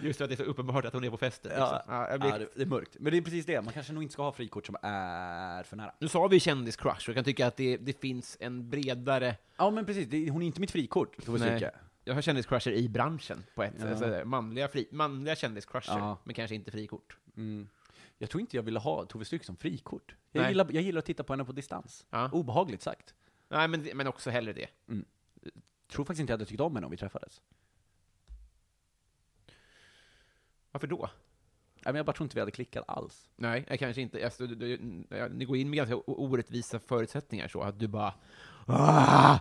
Speaker 1: Just för att det är så uppenbart att hon är på festen.
Speaker 2: Ja.
Speaker 1: liksom. Ja, jag blir...
Speaker 2: Ja, det, det är mörkt. Men det är precis det, man kanske nog inte ska ha frikort som är för nära.
Speaker 1: Nu sa vi kändiscrush, och jag kan tycka att det, det finns en bredare...
Speaker 2: Ja men precis, det, hon är inte mitt frikort, Tove
Speaker 1: Nej.
Speaker 2: Styrke.
Speaker 1: Jag har kändiscrusher i branschen på ett sätt. Alltså, manliga, fri, manliga kändiscrusher,
Speaker 2: Ja.
Speaker 1: men kanske inte frikort.
Speaker 2: Jag tror inte jag ville ha Tove Styrke som frikort. Jag
Speaker 1: Nej.
Speaker 2: gillar, jag gillar att titta på henne på distans.
Speaker 1: Ja.
Speaker 2: Obehagligt sagt.
Speaker 1: Nej, men, men också hellre det.
Speaker 2: Tror faktiskt inte jag hade tyckt om henne om vi träffades.
Speaker 1: Varför då?
Speaker 2: Nej, men jag bara tror inte vi hade klickat alls.
Speaker 1: Nej, jag kanske inte. Alltså, du, du, ja, ni går in med ganska o- orättvisa förutsättningar så att du bara... "Ah!"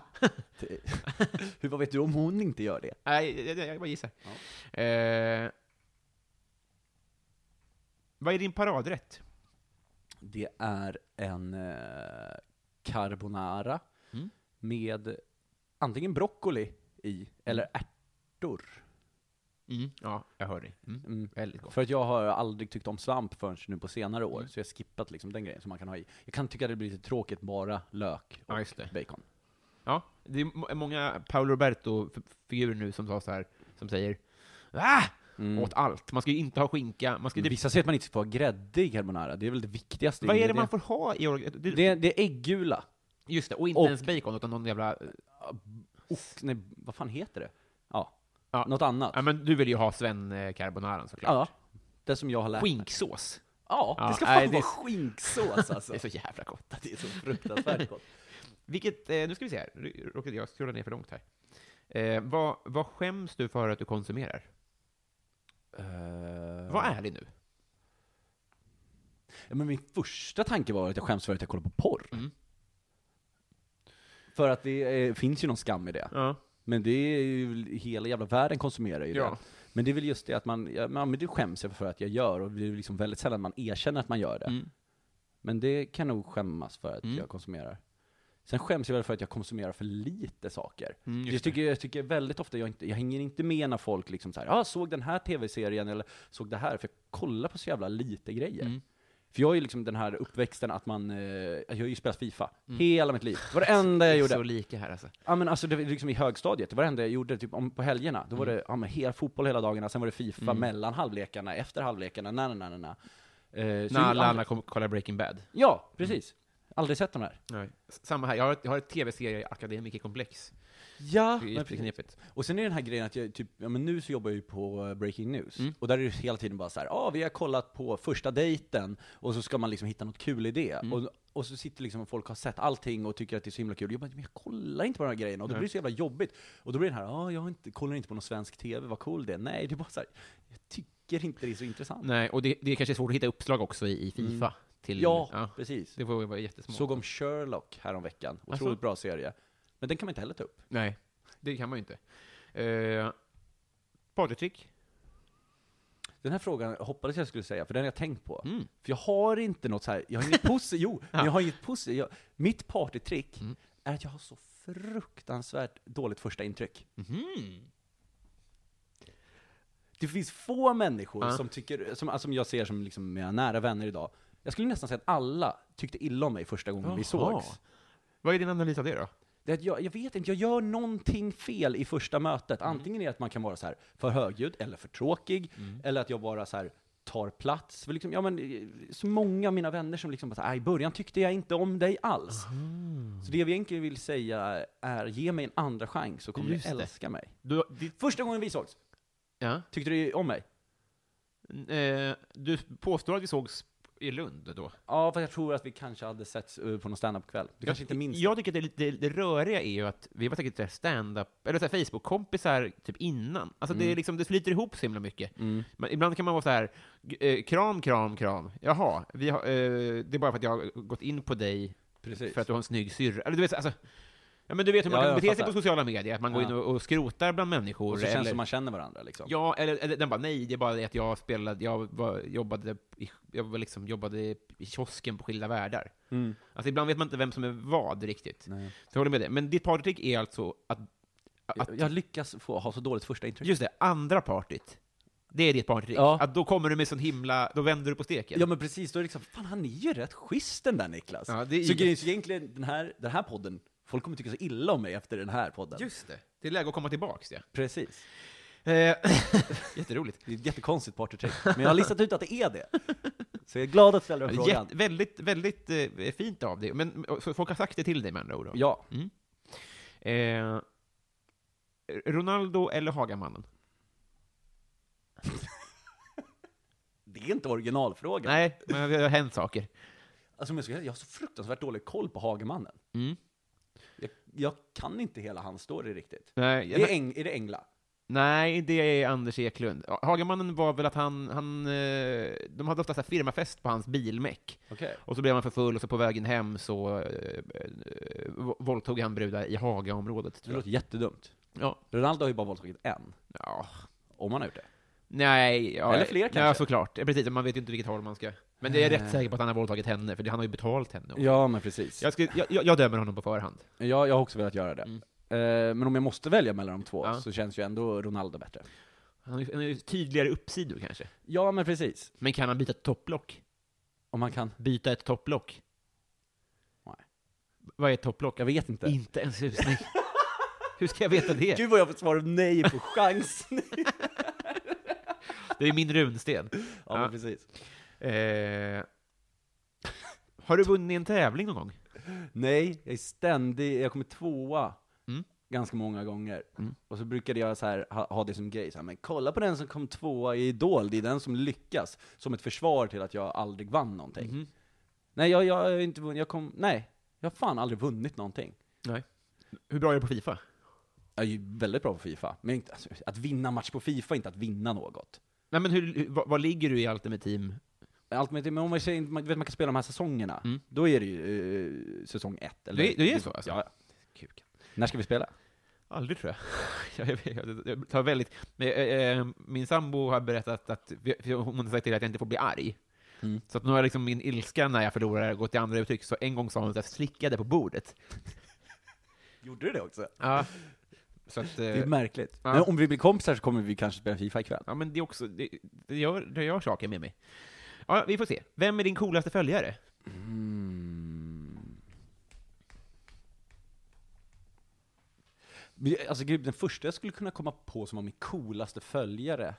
Speaker 2: Hur, vad vet du om hon inte gör det?
Speaker 1: Nej, jag, jag, jag bara gissar. Eh, vad är din paradrätt?
Speaker 2: Det är en eh, carbonara
Speaker 1: Mm.
Speaker 2: med antingen broccoli i, eller
Speaker 1: Mm.
Speaker 2: ärtor.
Speaker 1: Ja, jag hör dig. Mm. Väldigt gott. Mm.
Speaker 2: För att jag har aldrig tyckt om svamp förrän nu på senare år, så jag har skippat liksom den grejen som man kan ha i. Jag kan tycka det blir lite tråkigt bara lök och
Speaker 1: Ja, just det.
Speaker 2: bacon.
Speaker 1: Ja, det är må- många Paolo Roberto-figurer nu som, sa så här, som säger ah! åt allt. Man ska ju inte ha skinka, man ska ju typ,
Speaker 2: Vissa säger att man inte ska få ha grädde i carbonara, det är väl det viktigaste.
Speaker 1: Vad är det man
Speaker 2: ingrediensen.
Speaker 1: får ha i orga- det,
Speaker 2: Det, är- det är äggula.
Speaker 1: Just det, och inte
Speaker 2: och-
Speaker 1: ens bacon, utan någon jävla...
Speaker 2: Och, nej, vad fan heter det? Ja,
Speaker 1: Ja.
Speaker 2: något annat.
Speaker 1: Ja, men du vill ju ha Sven eh, Carbonaran såklart.
Speaker 2: Ja, det som jag har lärt mig.
Speaker 1: Skinksås.
Speaker 2: Ja,
Speaker 1: Ja,
Speaker 2: det ska
Speaker 1: nej,
Speaker 2: fan
Speaker 1: det-
Speaker 2: vara skinksås alltså.
Speaker 1: Det är så jävla gott.
Speaker 2: Det är så fruktansvärt gott.
Speaker 1: Vilket, eh, nu ska vi se här, Nu råkade jag skrolla ner för långt här. Eh, vad, vad skäms du för att du konsumerar?
Speaker 2: Eh,
Speaker 1: Var ärlig nu.
Speaker 2: Ja, men min första tanke var att jag skäms för att jag kollar på porr. För att det eh, finns ju någon skam i det.
Speaker 1: Ja.
Speaker 2: Men det är ju, hela jävla världen konsumerar ju
Speaker 1: Ja.
Speaker 2: det. Men det är väl just det att man, ja, men det skäms jag för att jag gör, och det är liksom väldigt sällan man erkänner att man gör det.
Speaker 1: Mm.
Speaker 2: Men det kan jag nog skämmas för att jag konsumerar. Sen skäms jag väl för att jag konsumerar för lite saker.
Speaker 1: Mm,
Speaker 2: jag, tycker, jag tycker väldigt ofta, jag, inte, jag hänger inte med när folk liksom såhär, ah, såg den här tv-serien eller såg det här, för jag kollar på så jävla lite grejer.
Speaker 1: Mm.
Speaker 2: För jag är ju liksom den här uppväxten att man, eh, jag har ju spelat Fifa hela mitt liv. Det var det enda jag gjorde.
Speaker 1: Mm. Så lika här alltså.
Speaker 2: Ja men alltså det var liksom i högstadiet, det var det enda jag gjorde typ om, på helgerna. Då var
Speaker 1: Mm.
Speaker 2: det ja, men hela fotboll hela dagarna, sen var det Fifa mellan halvlekarna, efter halvlekarna, na na na na na. Eh, så
Speaker 1: När alla
Speaker 2: aldrig-
Speaker 1: andra kom- kollar Breaking Bad.
Speaker 2: Ja, precis. Aldrig sett de här.
Speaker 1: Nej. S- Samma här, jag har ett, jag har ett tv-serie-akademikerkomplex.
Speaker 2: Ja,
Speaker 1: Det är jätteknepigt.
Speaker 2: Och sen är den här grejen att jag typ, ja men nu så jobbar jag ju på eh, Breaking News, och där är det hela tiden bara så här, ja ah, vi har kollat på första dejten, och så ska man liksom hitta något kul i det. Och, och så sitter liksom folk har sett allting och tycker att det är så himla kul. Jag bara, men jag kollar inte på de här grejerna, och då blir det så jävla jobbigt. Och då blir det här, ja ah, jag har inte, kollar inte på någon svensk TV, vad cool det är. Nej, det är bara så här, jag tycker inte det är så intressant.
Speaker 1: Nej, och det, det är kanske svårt att hitta uppslag också i, i Fifa. Till,
Speaker 2: Ja, precis.
Speaker 1: Det får ju vara jättesmå.
Speaker 2: Såg om Sherlock häromveckan, otroligt
Speaker 1: Alltså?
Speaker 2: bra serie. Men den kan man inte heller ta upp.
Speaker 1: Nej, det kan man ju inte. Eh, Partytrick?
Speaker 2: Den här frågan hoppades jag skulle säga, för den har jag tänkt på.
Speaker 1: Mm.
Speaker 2: För jag har inte något så här, jag har inget positivt, jo, men jag har inget positivt. Jag- Mitt partytrick
Speaker 1: Mm.
Speaker 2: är att jag har så fruktansvärt dåligt första intryck.
Speaker 1: Mhm.
Speaker 2: Det finns få människor
Speaker 1: Ja.
Speaker 2: som tycker, som, alltså, som jag ser som liksom mina nära vänner idag, jag skulle nästan säga att alla tyckte illa om mig första
Speaker 1: Mm,
Speaker 2: gången vi
Speaker 1: Jaha.
Speaker 2: sågs.
Speaker 1: Vad är din analys av det då?
Speaker 2: Det är att jag, jag vet inte, jag gör någonting fel i första mötet.
Speaker 1: Mm.
Speaker 2: Antingen är det att man kan vara så här för högljudd eller för tråkig,
Speaker 1: Mm.
Speaker 2: eller att jag bara så här tar plats. För liksom, ja, men, eh, så många av mina vänner som liksom bara så här, "Ah, i början tyckte jag inte om dig alls. Så det jag egentligen vill säga är, ge mig en andra chans så kommer
Speaker 1: Just
Speaker 2: du
Speaker 1: det.
Speaker 2: älska mig.
Speaker 1: Du, ditt,
Speaker 2: Första gången vi sågs,
Speaker 1: ja.
Speaker 2: tyckte du om mig?
Speaker 1: eh, du påstår att vi sågs i Lund då?
Speaker 2: Ja, för jag tror att vi kanske hade setts eh, på någon standup-kväll. Du kanske inte minns?
Speaker 1: Jag tycker att det, är lite- det, det röriga är ju att vi var säkert så här stand-up, eller så här Facebook-kompisar typ innan. Alltså
Speaker 2: Mm.
Speaker 1: det, är liksom, det flyter ihop så himla mycket. Men ibland kan man vara så här, g- eh, kram, kram, kram. Jaha, vi har, eh, det är bara för att jag har gått in på dig
Speaker 2: Precis.
Speaker 1: för att du har en snygg syrra. Eller du vet, alltså, ja, men du vet hur man
Speaker 2: Ja,
Speaker 1: kan
Speaker 2: jag
Speaker 1: bete sig
Speaker 2: fattar.
Speaker 1: på sociala medier, att man går
Speaker 2: Ja.
Speaker 1: in och, och skrotar bland människor.
Speaker 2: Och så känns det
Speaker 1: eller,
Speaker 2: som man känner varandra liksom.
Speaker 1: Ja, eller, eller den bara nej, det är bara det att jag spelade, jag var, jobbade, i, jag var liksom, jobbade i kiosken på skilda världar. Alltså ibland vet man inte vem som är vad riktigt.
Speaker 2: Mm. Nej.
Speaker 1: Så jag håller med dig. Men ditt partytrick är alltså att, att
Speaker 2: Jag, jag lyckas få ha så dåligt första intryck.
Speaker 1: just det, andra partyt, det är ditt partytrick.
Speaker 2: Ja.
Speaker 1: Att då kommer du med sån himla, då vänder du på steken.
Speaker 2: Ja men precis, då är det liksom, fan han är ju rätt schysst den där Niklas.
Speaker 1: Ja, det är
Speaker 2: så,
Speaker 1: ju-
Speaker 2: grejen- så egentligen, den här, den här podden, folk kommer tycka så illa om mig efter den här podden.
Speaker 1: Just det, det är läge att komma tillbaks ja.
Speaker 2: Precis.
Speaker 1: Eh, Jätteroligt.
Speaker 2: Det är ett jättekonstigt partytrick, men jag har listat ut att det är det. Så jag är glad att ställa den frågan.
Speaker 1: Jätte, väldigt, väldigt eh, fint av dig. Men så folk har sagt det till dig med andra ord? då?
Speaker 2: Ja.
Speaker 1: Eh, Ronaldo eller Hagamannen?
Speaker 2: Det är inte originalfrågan.
Speaker 1: Nej, men det har hänt saker.
Speaker 2: Alltså, om jag, ska, jag har så fruktansvärt dålig koll på Hagemannen.
Speaker 1: Mm.
Speaker 2: Jag, jag kan inte hela hans story riktigt.
Speaker 1: Nej,
Speaker 2: Det är, äng, är det Engla?
Speaker 1: nej, det är Anders Eklund. Ja, Hagamannen var väl att han, han eh, de hade ofta så här firmafest på hans bilmäck.
Speaker 2: Okej.
Speaker 1: Och så blev han för full och så på vägen hem så eh, eh, våldtog han brudar i Hagaområdet.
Speaker 2: Det
Speaker 1: Tror jag.
Speaker 2: låter jättedumt.
Speaker 1: Ja.
Speaker 2: Ronaldo har ju bara våldtagit en,
Speaker 1: ja.
Speaker 2: om han har gjort det.
Speaker 1: Nej, ja,
Speaker 2: Eller fler
Speaker 1: Ja,
Speaker 2: kanske.
Speaker 1: såklart. Ja, Precis, man vet ju inte vilket håll man ska... Men det är rätt säker på att han har våldtagit henne, för det- han har ju betalt henne. också.
Speaker 2: Ja, men precis.
Speaker 1: Jag, ska, jag, jag, jag dömer honom på förhand.
Speaker 2: Ja, jag har också velat göra det. Eh, men om jag måste välja mellan de två
Speaker 1: Ja.
Speaker 2: så känns ju ändå Ronaldo bättre.
Speaker 1: Han har ju- han har ju tydligare uppsidor kanske.
Speaker 2: Ja, men precis.
Speaker 1: Men kan han byta ett topplock?
Speaker 2: Om man kan.
Speaker 1: Byta ett topplock?
Speaker 2: Nej.
Speaker 1: Vad är topplock?
Speaker 2: Jag vet inte.
Speaker 1: Inte en susning. Hur ska jag veta det?
Speaker 2: Gud vad jag svarar nej på chansen.
Speaker 1: Det är min runsten.
Speaker 2: ja, men precis.
Speaker 1: Eh, har du vunnit en tävling någon gång?
Speaker 2: Nej, jag är ständig, jag kommer tvåa
Speaker 1: Mm.
Speaker 2: ganska många gånger. Och så brukade jag så här, ha, ha det som grej, så här, men kolla på den som kom tvåa i Idol, det är den som lyckas. Som ett försvar till att jag aldrig vann någonting. Nej, jag, jag har inte vunnit, jag kom, nej, jag har fan aldrig vunnit någonting.
Speaker 1: Nej. Hur bra är du på Fifa?
Speaker 2: Jag är ju väldigt bra på Fifa, men inte, alltså, att vinna match på Fifa är inte att vinna något.
Speaker 1: Nej, men hur, hur, vad, vad ligger du i Ultimate Team?
Speaker 2: Allt med, men om man, säger- man, vet, man kan spela de här säsongerna, då är det ju eh, säsong ett. Eller,
Speaker 1: Mm. Det är- det är så, alltså?
Speaker 2: Ja, ja. När ska vi spela?
Speaker 1: Aldrig tror jag. Jag, vet- jag, jag tar väldigt... Men, eh, eh, min sambo har berättat att, vi- för hon har sagt till att jag inte får bli arg.
Speaker 2: Mm.
Speaker 1: Så att nu har liksom min ilska när jag förlorar gått till andra uttryck, så en gång sa hon att jag slickade på bordet.
Speaker 2: Gjorde du det också?
Speaker 1: Ja. Så att, eh,
Speaker 2: Det är märkligt.
Speaker 1: Ja.
Speaker 2: Men om vi blir kompisar så kommer vi kanske spela Fifa ikväll.
Speaker 1: ja, men det är också, det, det, gör, det gör saker med mig. Ja, vi får se. Vem är din coolaste följare?
Speaker 2: Men jag- Alltså gud, den första jag skulle kunna komma på som var min coolaste följare,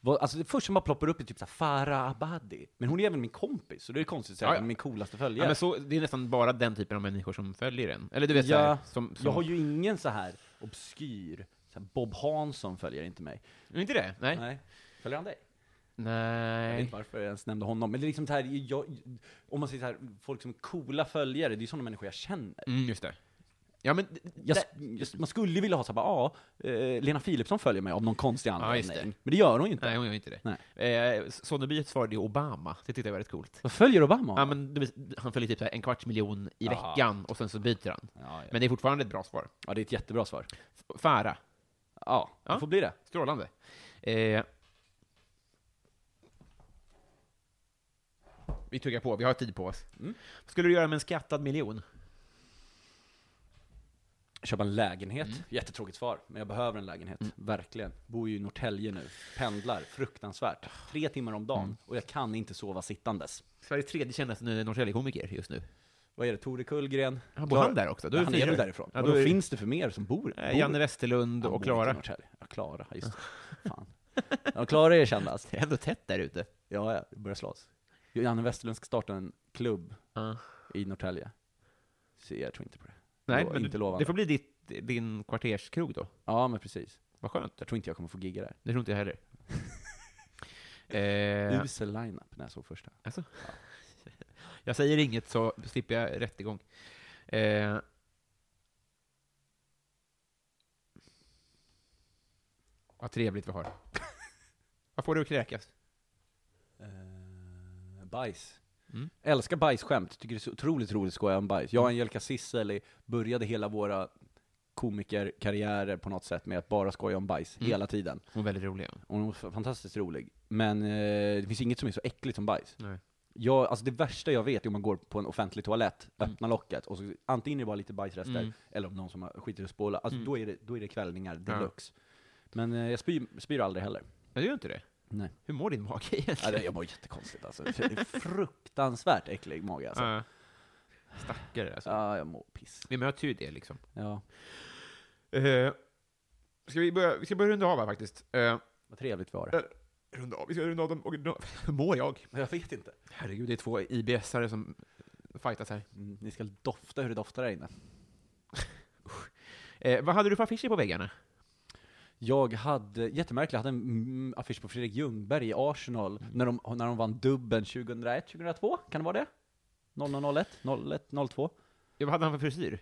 Speaker 2: var, alltså det första som bara ploppar upp är typ såhär Farah Abadi. Men hon är även min kompis, så det är konstigt att säga
Speaker 1: Ja,
Speaker 2: att
Speaker 1: ja.
Speaker 2: hon är min coolaste
Speaker 1: Ja,
Speaker 2: följare.
Speaker 1: men så, det är nästan bara den typen av människor som följer den. Eller du vet, så här,
Speaker 2: jag,
Speaker 1: som, som...
Speaker 2: jag har ju ingen så här obskyr, så här Bob Hansson följer inte mig.
Speaker 1: Inte det? Nej.
Speaker 2: Nej. Följer han dig? Jag vet
Speaker 1: Nej.
Speaker 2: inte varför jag ens nämnde honom, men det är liksom så här, jag, om man säger så här, folk som är coola följare, det är ju sådana människor jag känner.
Speaker 1: Mm, just det. Ja, men...
Speaker 2: Jag, jag, man skulle ju vilja ha såhär bara, ja, eh, Lena Philipsson följer mig av någon konstig
Speaker 1: just
Speaker 2: anledning.
Speaker 1: det.
Speaker 2: Men det gör hon ju inte.
Speaker 1: Nej, hon gör inte det.
Speaker 2: Nej.
Speaker 1: Eh, Sonnebyet svarade ju Obama, det tyckte jag var rätt coolt.
Speaker 2: Vad följer Obama?
Speaker 1: Ja, men, du vet, han följer typ så här en kvarts miljon i
Speaker 2: Ja.
Speaker 1: veckan, och sen så byter han.
Speaker 2: ja, ja.
Speaker 1: Men det är fortfarande ett bra svar.
Speaker 2: ja, det är ett jättebra svar.
Speaker 1: F- Fara,
Speaker 2: Ja, det
Speaker 1: Ja.
Speaker 2: får bli det.
Speaker 1: strålande. Eh, vi tuggar på, vi har tid på oss.
Speaker 2: Mm.
Speaker 1: Vad skulle du göra med en skattad miljon?
Speaker 2: Köpa en lägenhet.
Speaker 1: Mm.
Speaker 2: Jättetråkigt svar, men jag behöver en lägenhet. Verkligen. Bor ju i Norrtälje nu. Pendlar fruktansvärt. Tre timmar om
Speaker 1: Mm.
Speaker 2: dagen. Och jag kan inte sova sittandes.
Speaker 1: Sveriges tredje kändaste Norrtäljekomiker just nu.
Speaker 2: Vad är det? Tore Kullgren?
Speaker 1: Ja, bor
Speaker 2: Klar-
Speaker 1: han där också? Då är det
Speaker 2: han är
Speaker 1: fyra.
Speaker 2: väl därifrån?
Speaker 1: Ja,
Speaker 2: Och
Speaker 1: då
Speaker 2: då
Speaker 1: är det-
Speaker 2: finns det för mer som bor?
Speaker 1: Eh,
Speaker 2: bor.
Speaker 1: Janne Westerlund
Speaker 2: Han bor
Speaker 1: och
Speaker 2: inte i
Speaker 1: Klara.
Speaker 2: Norrtälje. Ja, Klara. ja, Just det. Fan. Ja, Klara är kändast.
Speaker 1: Det är ändå tätt där ute.
Speaker 2: Ja, ja, det börjar slås. Janne Westerlund ska starta en klubb
Speaker 1: Ja.
Speaker 2: i Norrtälje. Så jag tror inte på det.
Speaker 1: Nej,
Speaker 2: det var
Speaker 1: men
Speaker 2: inte
Speaker 1: du-
Speaker 2: lovande.
Speaker 1: det får bli ditt, din kvarterskrog då.
Speaker 2: Ja, men precis.
Speaker 1: Vad skönt.
Speaker 2: Jag tror inte jag kommer få gigga där.
Speaker 1: Det tror inte jag heller. eh,
Speaker 2: Usel line-up när jag såg första.
Speaker 1: alltså. Jag säger inget så slipper jag rättegång. Eh, vad trevligt vi har. Vad får du att kräkas?
Speaker 2: Uh, bajs.
Speaker 1: Mm.
Speaker 2: Älskar bajsskämt. Tycker det är så otroligt roligt att skoja om bajs. Jag och Angelica Cisseli började hela våra komikerkarriärer på något sätt med att bara skoja om bajs
Speaker 1: Mm.
Speaker 2: hela tiden.
Speaker 1: Hon är väldigt rolig.
Speaker 2: Och Hon var fantastiskt rolig. Men eh, det finns inget som är så äckligt som bajs.
Speaker 1: Nej.
Speaker 2: Jag, alltså det värsta jag vet är om man går på en offentlig toalett,
Speaker 1: Mm.
Speaker 2: öppnar locket, och så, antingen är det bara lite bajsrester,
Speaker 1: Mm.
Speaker 2: eller om någon som har skiter och spolar. Alltså
Speaker 1: Mm.
Speaker 2: då, är det, då är det kvällningar
Speaker 1: Ja.
Speaker 2: deluxe. Men eh, jag spyr, spyr aldrig heller.
Speaker 1: Ja, du gör inte det?
Speaker 2: Nej.
Speaker 1: Hur mår din mage
Speaker 2: Ja,
Speaker 1: egentligen?
Speaker 2: det- jag mår jättekonstigt alltså. Det är fruktansvärt äcklig mage alltså.
Speaker 1: Ja. Stackare alltså.
Speaker 2: Ja, jag mår piss.
Speaker 1: Vi möter ju i det liksom.
Speaker 2: Ja,
Speaker 1: Eh, ska vi, börja, vi ska börja runda av här faktiskt. Eh,
Speaker 2: vad trevligt vi har
Speaker 1: Eh.
Speaker 2: det.
Speaker 1: runda av, vi ska runda av dem och runda av. Hur mår jag?
Speaker 2: Jag vet inte.
Speaker 1: Herregud, det är två IBS-are som fightas här.
Speaker 2: Mm, Ni ska dofta hur det doftar där inne.
Speaker 1: Eh, vad hade du för affischer på väggarna?
Speaker 2: Jag hade, jättemärkligt, jag hade en mm, affisch på Fredrik Ljungberg i Arsenal när, de, när de vann dubben 2001, 2002? Kan det vara det? 0001, 01, 02?
Speaker 1: Ja, vad hade han för frisyr?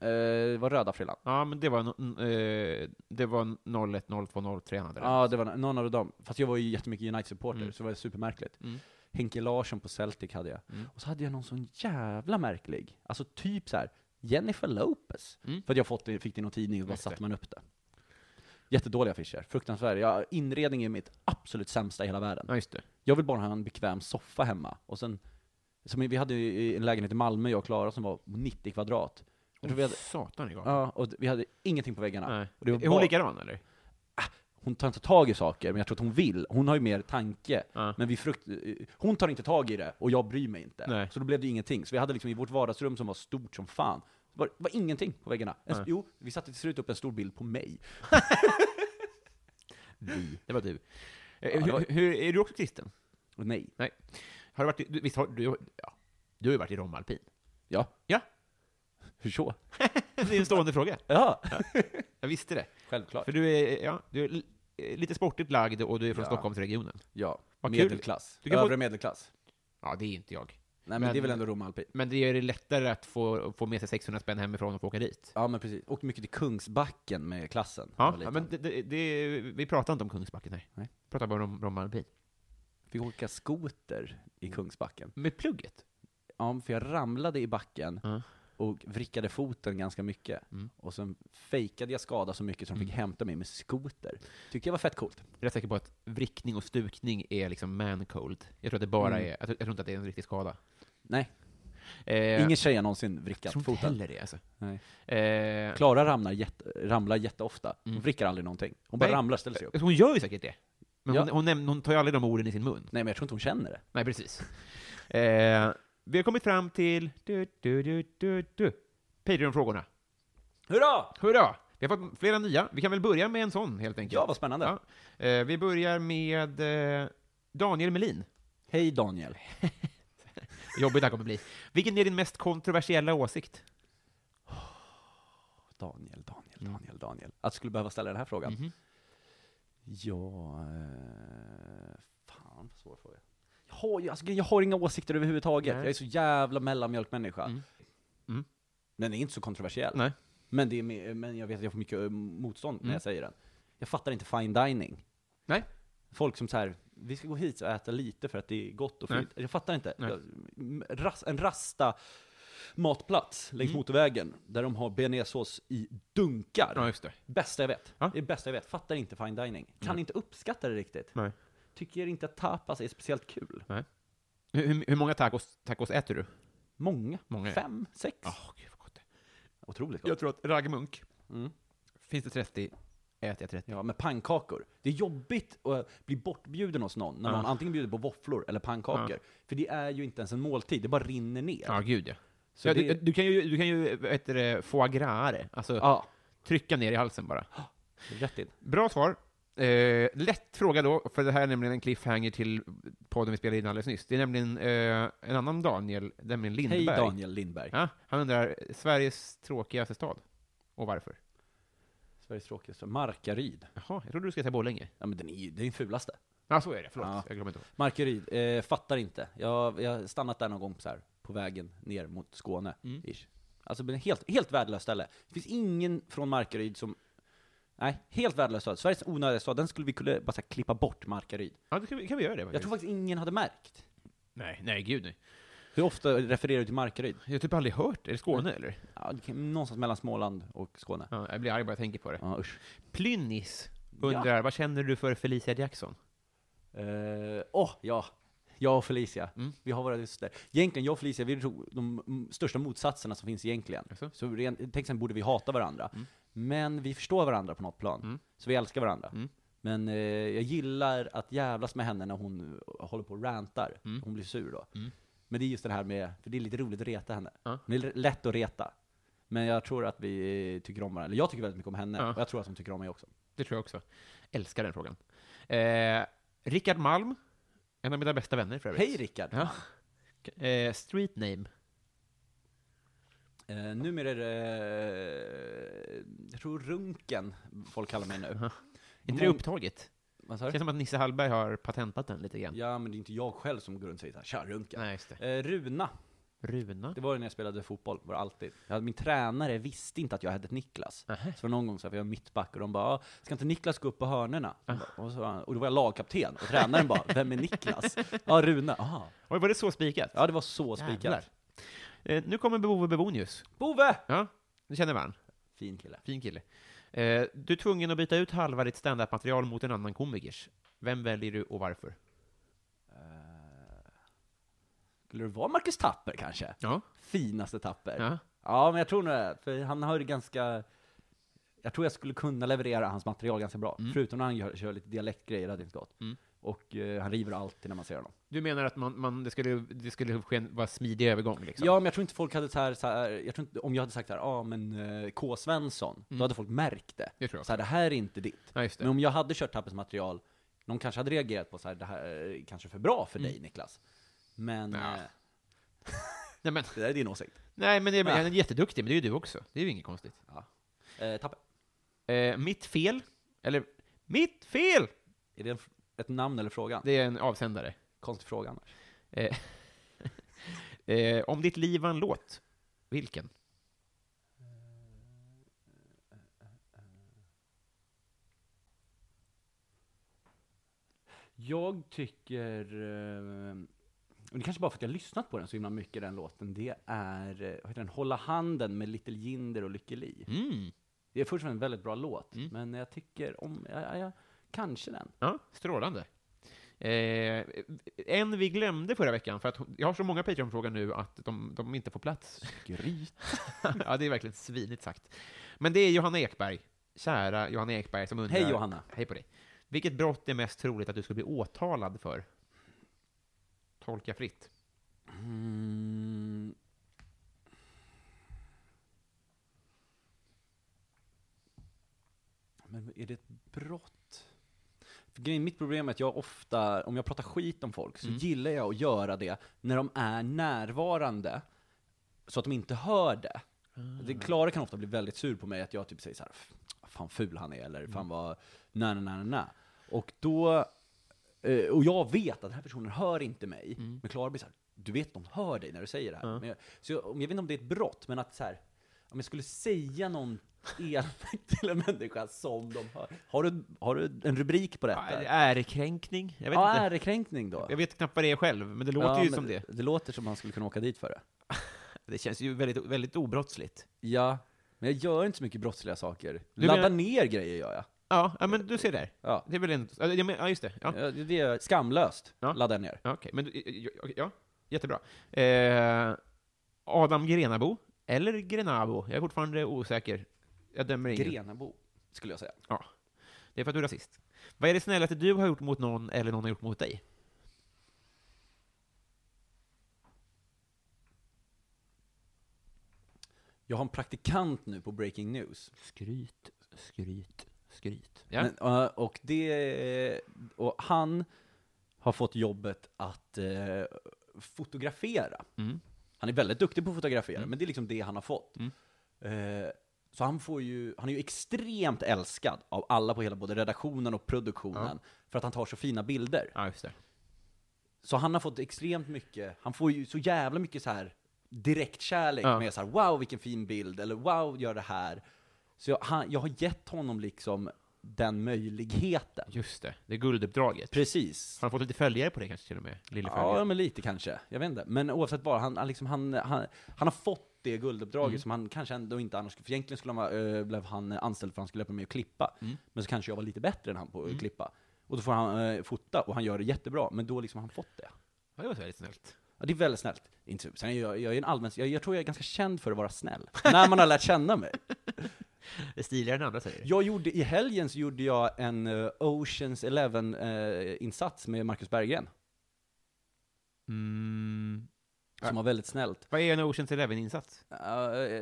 Speaker 2: Eh, det var röda frillan.
Speaker 1: Ja, men det var, no, n- eh, det var 01, 02, 03 han hade. där.
Speaker 2: Ja, det var någon av dem. Fast jag var ju jättemycket United-supporter,
Speaker 1: Mm.
Speaker 2: så det var supermärkligt.
Speaker 1: Mm.
Speaker 2: Henke Larsson på Celtic hade jag.
Speaker 1: Mm.
Speaker 2: Och så hade jag någon sån jävla märklig, alltså typ så här Jennifer Lopez.
Speaker 1: Mm.
Speaker 2: För att jag fått det, fick det i någon tidning och bara
Speaker 1: Just det.
Speaker 2: satte man upp det. Jättedåliga affischer, fruktansvärda. Jag, inredning är mitt absolut sämsta i hela världen.
Speaker 1: Ja, just det.
Speaker 2: Jag vill bara ha en bekväm soffa hemma. Och sen, som vi hade ju en lägenhet i Malmö, jag och Klara, som var 90 kvadrat. Jag tror vi
Speaker 1: Åh,
Speaker 2: hade,
Speaker 1: Satan i gatan.
Speaker 2: ja, och vi hade ingenting på väggarna.
Speaker 1: Nej.
Speaker 2: Och det var
Speaker 1: Är hon
Speaker 2: bara-
Speaker 1: likadan eller?
Speaker 2: hon tar inte tag i saker, men jag tror att hon vill. Hon har ju mer tanke. Men vi frukt... eh, hon tar inte tag i det, och jag bryr mig inte.
Speaker 1: Nej.
Speaker 2: Så då blev det ingenting. Så vi hade liksom i vårt vardagsrum som var stort som fan, det var, det var ingenting på väggarna. En, jo, vi satte till slut upp en stor bild på mig.
Speaker 1: Det var du. Eh,
Speaker 2: det var-
Speaker 1: hur, hur, är du också kristen?
Speaker 2: Och nej.
Speaker 1: Nej. Har du varit i, du, visst har du, ja, du har ju varit i Romalpin?
Speaker 2: Ja.
Speaker 1: Ja.
Speaker 2: Hur så?
Speaker 1: Det är en stående fråga.
Speaker 2: Ja,
Speaker 1: Jag visste det.
Speaker 2: självklart.
Speaker 1: För du är, ja, du är li- eh, lite sportigt lagd och du är från
Speaker 2: Ja.
Speaker 1: Stockholmsregionen.
Speaker 2: Ja.
Speaker 1: Vad kul.
Speaker 2: medelklass.
Speaker 1: Du kan få-
Speaker 2: Övre medelklass.
Speaker 1: Ja, det är inte jag.
Speaker 2: Nej men,
Speaker 1: Men-
Speaker 2: det är väl ändå Rom Alpin.
Speaker 1: Men det gör det lättare att få, få med sig 600 spänn hemifrån och få åka dit.
Speaker 2: Ja men precis. Åkte mycket till Kungsbacken med klassen. när jag
Speaker 1: Ja,
Speaker 2: var
Speaker 1: ja
Speaker 2: liten.
Speaker 1: men det, det, det, vi pratar inte om Kungsbacken här.
Speaker 2: Nej.
Speaker 1: Vi pratar bara om Romalpin.
Speaker 2: Fick åka skoter i Kungsbacken.
Speaker 1: Med plugget?
Speaker 2: Ja, för jag ramlade i backen
Speaker 1: Ja.
Speaker 2: och vrickade foten ganska mycket. Och sen fejkade jag skada så mycket som de fick hämta mig med skoter. Tyckte jag var fett coolt.
Speaker 1: Jag är rätt säker på att vrickning och stukning är liksom man-cold. Jag tror att det bara
Speaker 2: Mm.
Speaker 1: är, jag tror, jag tror inte att det är en riktig skada.
Speaker 2: Nej,
Speaker 1: Eh,
Speaker 2: ingen tjej har någonsin vrickat
Speaker 1: jag tror inte
Speaker 2: foten.
Speaker 1: heller det alltså.
Speaker 2: Nej.
Speaker 1: Eh,
Speaker 2: Klara ramlar, jätte, ramlar jätteofta. Hon
Speaker 1: Mm.
Speaker 2: vrickar aldrig någonting. Hon bara
Speaker 1: Nej.
Speaker 2: ramlar och ställer sig upp.
Speaker 1: alltså, hon gör ju säkert det. Men
Speaker 2: Ja.
Speaker 1: hon, hon, näm- hon tar ju aldrig de orden i sin mun.
Speaker 2: Nej men jag tror inte hon känner det.
Speaker 1: Nej, precis. Eh, vi har kommit fram till du, du, du, du, du. Patreon-frågorna.
Speaker 2: Hurra!
Speaker 1: Hurra! Vi har fått flera nya. Vi kan väl börja med en sån, helt enkelt.
Speaker 2: Ja, vad spännande.
Speaker 1: Ja. Eh, vi börjar med eh, Daniel Melin.
Speaker 2: Hej Daniel.
Speaker 1: Jobbigt det här kommer bli. Vilken är din mest kontroversiella åsikt?
Speaker 2: Daniel, Daniel, Daniel, Daniel. Att jag skulle behöva ställa den här frågan.
Speaker 1: Mhm.
Speaker 2: Ja... Eh, fan, vad svår fråga. Jag har, ju- alltså, jag har inga åsikter överhuvudtaget.
Speaker 1: Nej.
Speaker 2: Jag är så jävla mellanmjölkmänniska.
Speaker 1: Mm. Mm.
Speaker 2: Den är inte så kontroversiell.
Speaker 1: Nej.
Speaker 2: Men, det är, me- men jag vet att jag får mycket eh, motstånd när
Speaker 1: Mm.
Speaker 2: jag säger den. Jag fattar inte fine dining.
Speaker 1: Nej.
Speaker 2: Folk som så här, vi ska gå hit och äta lite för att det är gott och
Speaker 1: Nej.
Speaker 2: fint. Jag fattar inte.
Speaker 1: Nej.
Speaker 2: Jag, m- ras, en rasta matplats
Speaker 1: Mm.
Speaker 2: längs motorvägen där de har bearnaisesås i dunkar.
Speaker 1: Ja, just det.
Speaker 2: Bästa jag vet.
Speaker 1: Ja.
Speaker 2: Det är bästa jag vet. Fattar inte fine dining. Kan inte uppskatta det riktigt.
Speaker 1: Nej.
Speaker 2: Tycker inte att tapas är speciellt kul.
Speaker 1: Hur, hur- hur många tacos, tacos äter du?
Speaker 2: Många.
Speaker 1: Många, ja.
Speaker 2: Fem, sex.
Speaker 1: Oh, gud vad gott det
Speaker 2: Otroligt
Speaker 1: Jag
Speaker 2: gott.
Speaker 1: tror att raggmunk,
Speaker 2: Mm.
Speaker 1: finns det 30, äter jag 30.
Speaker 2: Ja, med pannkakor. Det är jobbigt att eh, bli bortbjuden hos någon när
Speaker 1: Ja.
Speaker 2: någon antingen bjuder på våfflor eller pannkakor. För det är ju inte ens en måltid, det bara rinner ner.
Speaker 1: Ja, gud ja.
Speaker 2: Så
Speaker 1: ja
Speaker 2: det-
Speaker 1: du, du kan ju, du kan ju vad heter det, foie gras-are. Alltså,
Speaker 2: Ja,
Speaker 1: trycka ner i halsen bara.
Speaker 2: rätt in.
Speaker 1: Bra svar. Eh, lätt fråga då, för det här är nämligen en cliffhanger till podden vi spelade in alldeles nyss. Det är nämligen eh, en annan Daniel, nämligen Lindberg.
Speaker 2: Hej Daniel Lindberg.
Speaker 1: Ja, han undrar, Sveriges tråkigaste stad? Och varför?
Speaker 2: Sveriges tråkigaste. Markaryd.
Speaker 1: Jaha, jag trodde du skulle säga Borlänge.
Speaker 2: Ja men den är ju, det är den fulaste.
Speaker 1: Ja, så är det. Förlåt,
Speaker 2: Ja.
Speaker 1: jag glömde inte.
Speaker 2: Markaryd, eh, fattar inte. Jag jag har stannat där någon gång så här, på vägen ner mot Skåne.
Speaker 1: Mm.
Speaker 2: Ish. Alltså men helt, helt värdelöst ställe. Det finns ingen från Markaryd som... Nej, helt värdelös stad. Sveriges onödiga stad, den skulle vi kunna bara så här, klippa bort Markaryd.
Speaker 1: Ja, det kan vi, kan vi göra det
Speaker 2: Jag
Speaker 1: faktiskt.
Speaker 2: tror faktiskt ingen hade märkt.
Speaker 1: Nej, nej, gud nej.
Speaker 2: Hur ofta refererar du till Markaryd?
Speaker 1: Jag har typ aldrig hört. Är det Skåne, eller?
Speaker 2: Ja, det kan- någonstans mellan Småland och Skåne.
Speaker 1: Ja, jag blir arg bara jag tänker på det.
Speaker 2: Ja, usch.
Speaker 1: Plynnis undrar, vad känner du för Felicia Jackson?
Speaker 2: Åh, eh, åh, ja. Jag och Felicia,
Speaker 1: Mm.
Speaker 2: vi har våra röster. Egentligen, jag och Felicia, vi är nog de mm, största motsatserna som finns egentligen.
Speaker 1: Jaså?
Speaker 2: Så rent, tänk sen borde vi hata varandra. Men vi förstår varandra på något plan.
Speaker 1: Mm.
Speaker 2: Så vi älskar varandra.
Speaker 1: Mm.
Speaker 2: Men eh, jag gillar att jävlas med henne när hon håller på och rantar.
Speaker 1: Mm.
Speaker 2: Hon blir sur då.
Speaker 1: Mm.
Speaker 2: Men det är just det här med, för det är lite roligt att reta henne.
Speaker 1: Ja.
Speaker 2: Hon är l- lätt att reta. Men jag tror att vi tycker om varandra. Eller jag tycker väldigt mycket om henne.
Speaker 1: Ja.
Speaker 2: Och jag tror att hon tycker om mig också.
Speaker 1: Det tror jag också. Älskar den frågan. Eh, Rickard Malm, en av mina bästa vänner för övrigt.
Speaker 2: Hej Rickard!
Speaker 1: Ja. Eh, street name.
Speaker 2: Eh, numera är det, eh, jag tror Runken folk kallar mig nu.
Speaker 1: Aha. Är inte det
Speaker 2: Mång-
Speaker 1: upptaget?
Speaker 2: Vad
Speaker 1: Det
Speaker 2: sa
Speaker 1: känns
Speaker 2: du?
Speaker 1: som att Nisse Hallberg har patentat den lite grann.
Speaker 2: Ja, men det är inte jag själv som går runt och säger såhär, tja Runken.
Speaker 1: Nej, just det.
Speaker 2: Eh, Runa,
Speaker 1: Runa.
Speaker 2: det var ju när jag spelade fotboll, var det alltid. Jag hade, min tränare visste inte att jag hette Niklas.
Speaker 1: Nähä.
Speaker 2: Så var det någon gång så här, för jag var mittback, och de bara, "Ah, ska inte Niklas gå upp på hörnorna? Jag bara, Och, så, var han- och då var jag lagkapten, och tränaren bara, vem är Niklas? Ja, Runa. Aha.
Speaker 1: Oj, var det så spikat?
Speaker 2: Ja, det var så spikat.
Speaker 1: Jävlar. Eh, nu kommer Bove Bebonius.
Speaker 2: Bove!
Speaker 1: Ja, du känner varandra.
Speaker 2: Fin kille.
Speaker 1: Fin kille. Eh, du är tvungen att byta ut halva ditt standup-material mot en annan komikers. Vem väljer du och varför?
Speaker 2: Skulle det vara Marcus Tapper kanske?
Speaker 1: Ja.
Speaker 2: Finaste Tapper.
Speaker 1: ja.
Speaker 2: Ja, men jag tror nog det. För han har ju ganska... jag tror jag skulle kunna leverera hans material ganska bra. Förutom när han gör, kör lite dialektgrejer, det hade inte gått. Och eh, han river alltid när man ser honom.
Speaker 1: Du menar att man, man, det skulle, det skulle ske en, vara smidig övergång? Liksom.
Speaker 2: Ja, men jag tror inte folk hade så här, så här jag tror inte, om jag hade sagt så här, ah, men eh, K. Svensson, då hade folk märkt Mm. det.
Speaker 1: Det tror jag
Speaker 2: så här, det här är inte ditt.
Speaker 1: Ja, just det.
Speaker 2: Men om jag hade kört Tappers material, någon kanske hade reagerat på så här, det här är kanske för bra för dig Niklas. Men
Speaker 1: Ja.
Speaker 2: eh,
Speaker 1: Nej, men,
Speaker 2: det där är din åsikt.
Speaker 1: nej, men det,
Speaker 2: Nej.
Speaker 1: han är jätteduktig, men det är ju du också. Det är ju inget konstigt.
Speaker 2: Eh, Tapper,
Speaker 1: Eh, mitt fel, eller mitt fel!
Speaker 2: är det en, f- ett namn eller fråga?
Speaker 1: Det är en avsändare.
Speaker 2: Konstig fråga annars.
Speaker 1: Eh, eh, om ditt liv var en låt, vilken?
Speaker 2: Jag tycker, eh, och det kanske bara för att jag har lyssnat på den så himla mycket, den låten, det är, eh, vad heter den, Hålla handen med Little Jinder och Lykke Li.
Speaker 1: Mm.
Speaker 2: Det är först och främst en väldigt bra låt, men jag tycker om, ja, ja, ja, kanske den.
Speaker 1: Ja, strålande. Eh, en vi glömde förra veckan, för att hon- jag har så många Patreon-frågor nu att de, de inte får plats. Skryt. ja, det är verkligen svinigt sagt. Men det är Johanna Ekberg, kära Johanna Ekberg, som undrar...
Speaker 2: Hej Johanna!
Speaker 1: Hej på dig. Vilket brott är mest troligt att du skulle bli åtalad för? Tolka fritt.
Speaker 2: Mm. Men är det ett brott? För grejen, mitt problem är att jag ofta, om jag pratar skit om folk, så gillar jag att göra det när de är närvarande, så att de inte hör det.
Speaker 1: Ah.
Speaker 2: Det, Klara kan ofta bli väldigt sur på mig att jag typ säger så här, "F- fan ful han är, eller
Speaker 1: Mm.
Speaker 2: fan vad, na na na na na. Och då Eh, och jag vet att den här personen hör inte mig.
Speaker 1: Mm.
Speaker 2: Men Klara blir så här, du vet de hör dig när du säger det här. Men jag, så jag, om- jag vet inte om det är ett brott, men att så här, om jag skulle säga någon elakt till en människa som de hör. Har du, har du en rubrik på detta? Ja,
Speaker 1: Ärekränkning? Jag vet inte.
Speaker 2: ärekränkning då?
Speaker 1: Jag vet knappt vad det är själv, men det låter
Speaker 2: Ja,
Speaker 1: ju
Speaker 2: men
Speaker 1: som det.
Speaker 2: Det låter som man skulle kunna åka dit för det.
Speaker 1: Det känns ju väldigt, väldigt obrottsligt.
Speaker 2: Ja, men jag gör inte så mycket brottsliga saker.
Speaker 1: Du
Speaker 2: Ladda
Speaker 1: menar-
Speaker 2: ner grejer gör jag.
Speaker 1: Ja, ja, men du ser där.
Speaker 2: Ja.
Speaker 1: Det är väl en... Ja, men- ja, just det. Ja.
Speaker 2: Ja, Det det är skamlöst.
Speaker 1: Ja.
Speaker 2: Ladda ner.
Speaker 1: Ja, Okej, men du- ja, ja, ja, jättebra. Eh, Adam Grenabo, eller Grenabo, jag är fortfarande osäker. Jag dömer ingen.
Speaker 2: Grenabo, skulle jag säga.
Speaker 1: Ja. Det är för att du är rasist. Vad är det snällaste du har gjort mot någon eller någon har gjort mot dig?
Speaker 2: Jag har en praktikant nu på Breaking News.
Speaker 1: Skryt, skryt, skryt. Ja.
Speaker 2: Men, eh, och, det, och han har fått jobbet att eh, fotografera.
Speaker 1: Mm.
Speaker 2: Han är väldigt duktig på att fotografera, men det är liksom det han har fått. Eh, så han, får ju, han är ju extremt älskad av alla på hela både redaktionen och produktionen, för att han tar så fina bilder.
Speaker 1: ja, just det.
Speaker 2: Så han har fått extremt mycket, han får ju så jävla mycket så här direktkärlek
Speaker 1: Ja.
Speaker 2: med så här wow vilken fin bild, eller wow gör det här. Så jag, han, jag har gett honom liksom den möjligheten.
Speaker 1: Just det, det är gulduppdraget.
Speaker 2: Precis.
Speaker 1: Har han fått lite följare på det kanske till och med? Lille
Speaker 2: Ja,
Speaker 1: följare.
Speaker 2: men lite kanske. Jag vet inte. Men oavsett vad, han, han, liksom, han, han, han har fått det gulduppdraget som han kanske ändå inte annars skulle, för egentligen skulle han vara, eh, blev han anställd för att han skulle hjälpa mig att klippa. Men så kanske jag var lite bättre än han på att klippa. Och då får han eh, fota, och han gör det jättebra, men då liksom har han fått det.
Speaker 1: Ja, det var väldigt snällt.
Speaker 2: Ja, det är väldigt snällt. Inte så- Sen är jag, jag, är en allmän, jag, jag tror jag är ganska känd för att vara snäll. När man har lärt känna mig.
Speaker 1: Det är stiligare än andra säger.
Speaker 2: Jag gjorde, I helgen så gjorde jag en eh, Oceans Eleven-insats med Marcus Berggren,
Speaker 1: Mm.
Speaker 2: som var väldigt snällt.
Speaker 1: Vad är en Oceans Eleven-insats?
Speaker 2: Eh,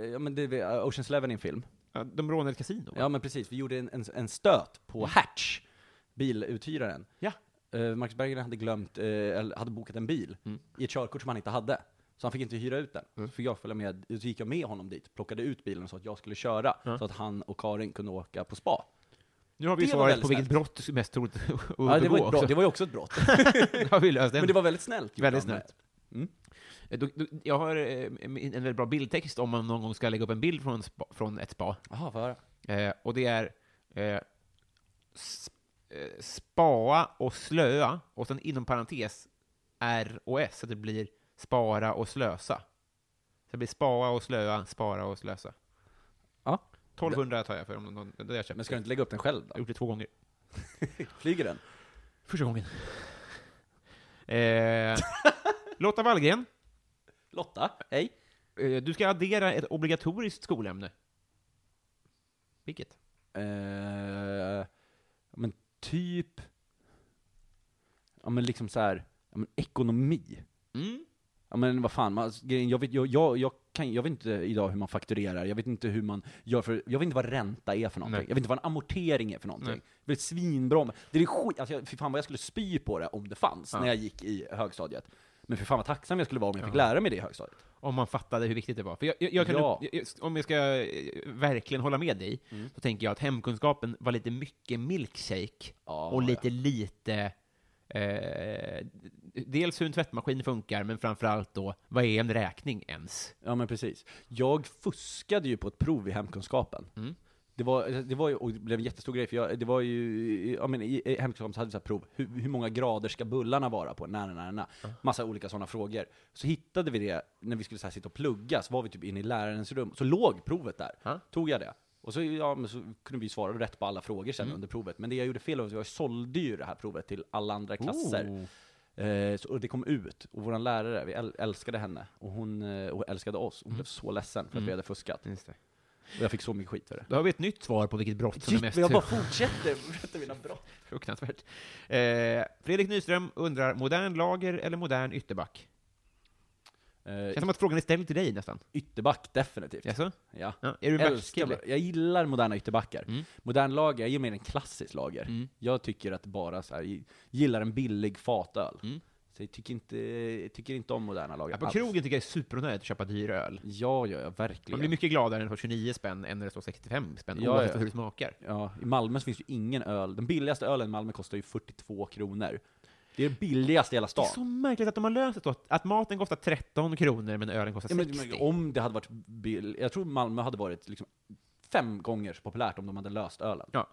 Speaker 2: ja, men det, eh, Oceans Eleven är en film.
Speaker 1: Ja, De rånade ett kasino? va?
Speaker 2: Ja, men precis. Vi gjorde en, en, en stöt på Hatch, biluthyraren.
Speaker 1: Mm. Ja.
Speaker 2: Eh, Marcus Berggren hade glömt, eh, eller hade bokat en bil
Speaker 1: Mm.
Speaker 2: i ett körkort som han inte hade. Så han fick inte hyra ut den. Så fick jag följa med, så gick jag med honom dit, plockade ut bilen och sa att jag skulle köra,
Speaker 1: Mm.
Speaker 2: så att han och Karin kunde åka på spa.
Speaker 1: Nu har vi
Speaker 2: Det var
Speaker 1: svaret
Speaker 2: väldigt
Speaker 1: på vilket brott som är mest troligt att
Speaker 2: Ja, det,
Speaker 1: begå
Speaker 2: var ett
Speaker 1: också.
Speaker 2: brott, det var ju också ett brott.
Speaker 1: Då har vi löst den.
Speaker 2: Men det var väldigt snällt. gjort
Speaker 1: väldigt
Speaker 2: av mig.
Speaker 1: snällt. Eh, då- då- Jag har eh, en en väldigt bra bildtext om man någon gång ska lägga upp en bild från, en spa, från ett spa.
Speaker 2: Jaha, vad höra.
Speaker 1: Eh, och det är eh, sp, eh, spaa och slöa, och sen inom parentes R och S, så det blir spara och slösa. Så det blir spaa och slöa, spara och slösa.
Speaker 2: Ja.
Speaker 1: 1200 tar jag för om någon, det har jag köpt.
Speaker 2: Men ska du inte lägga upp den själv
Speaker 1: Jag har
Speaker 2: då?
Speaker 1: gjort det två gånger.
Speaker 2: Flyger den?
Speaker 1: Första gången. Eh, Lotta Wallgren,
Speaker 2: Lotta? Hej?
Speaker 1: eh, du ska addera ett obligatoriskt skolämne. Vilket?
Speaker 2: Eh, men typ, ja men liksom så här, ja men ekonomi.
Speaker 1: Mm.
Speaker 2: Ja men vad fan, man, alltså, grejen- jag, vet, jag, jag, jag, kan, jag vet inte idag hur man fakturerar, jag vet inte hur man gör för, jag vet inte vad ränta är för någonting,
Speaker 1: Nej.
Speaker 2: jag vet inte vad en amortering är för någonting.
Speaker 1: Nej.
Speaker 2: Det är svinbra, men det är skit, alltså jag, fy fan vad jag skulle spy på det om det fanns
Speaker 1: Ja.
Speaker 2: när jag gick i högstadiet. Men för fan vad tacksam jag skulle vara om jag fick lära mig det i högstadiet.
Speaker 1: Om man fattade hur viktigt det var. För jag, jag, jag kan
Speaker 2: Ja. Mm.
Speaker 1: upp- jag, jag, om jag ska eh, verkligen hålla med dig, så tänker jag att hemkunskapen var lite mycket milkshake,
Speaker 2: Ja,
Speaker 1: och lite lite... Eh, dels hur en tvättmaskin funkar, men framförallt då, vad är en räkning ens?
Speaker 2: Ja men precis. Jag fuskade ju på ett prov i hemkunskapen. Det var, det var ju, och det blev en jättestor grej, för jag, det var ju, ja men i i hemkunskapen så hade vi så här prov, hur, hur många grader ska bullarna vara på? Nära, nära, nära. Massa olika sådana frågor. Så hittade vi det, när vi skulle så här sitta och plugga, så var vi typ inne i lärarens rum, så låg provet där.
Speaker 1: Ja.
Speaker 2: Tog jag det. Och så, ja, men så kunde vi svara rätt på alla frågor sen under provet. Men det jag gjorde fel var att jag sålde ju det här provet till alla andra klasser. Eh, så, och det kom ut, och vår lärare, vi äl- älskade henne, och hon eh, och älskade oss. Hon blev så ledsen för att vi hade fuskat.
Speaker 1: Mm. Just det.
Speaker 2: Och jag fick så mycket skit för det.
Speaker 1: Då har vi ett nytt svar på vilket brott som är mest typ-
Speaker 2: jag bara fortsätter berätta mina brott.
Speaker 1: fruktansvärt. Eh, Fredrik Nyström undrar, modern lager eller modern ytterback? Känns
Speaker 2: Eh,
Speaker 1: som att frågan är ställd till dig nästan.
Speaker 2: ytterback, definitivt.
Speaker 1: Jaså?
Speaker 2: Ja.
Speaker 1: Ja, är du en
Speaker 2: Älskar,
Speaker 1: backkille?
Speaker 2: jag gillar moderna ytterbackar.
Speaker 1: Mm.
Speaker 2: Modern lager, jag gillar mer en klassisk lager. Jag tycker att bara så här, gillar en billig fatöl.
Speaker 1: Mm.
Speaker 2: Så jag tycker inte, jag tycker inte om moderna lager
Speaker 1: Ja, på
Speaker 2: alls.
Speaker 1: krogen tycker jag det är superonödigt att köpa dyr öl.
Speaker 2: Ja, ja, ja, verkligen.
Speaker 1: Man blir mycket gladare när det står 29 spänn än när det står 65 spänn,
Speaker 2: Ja,
Speaker 1: oavsett
Speaker 2: ja.
Speaker 1: hur det smakar.
Speaker 2: Ja, i Malmö så finns ju ingen öl. Den billigaste ölen i Malmö kostar ju 42 kronor. Det är den billigaste i hela
Speaker 1: Det är
Speaker 2: stan.
Speaker 1: så märkligt att de har löst det då, att maten kostar 13 kronor men ölen kostar
Speaker 2: ja,
Speaker 1: 60.
Speaker 2: men, men om det hade varit bill... Jag tror Malmö hade varit liksom fem gånger så populärt om de hade löst ölen.
Speaker 1: Ja.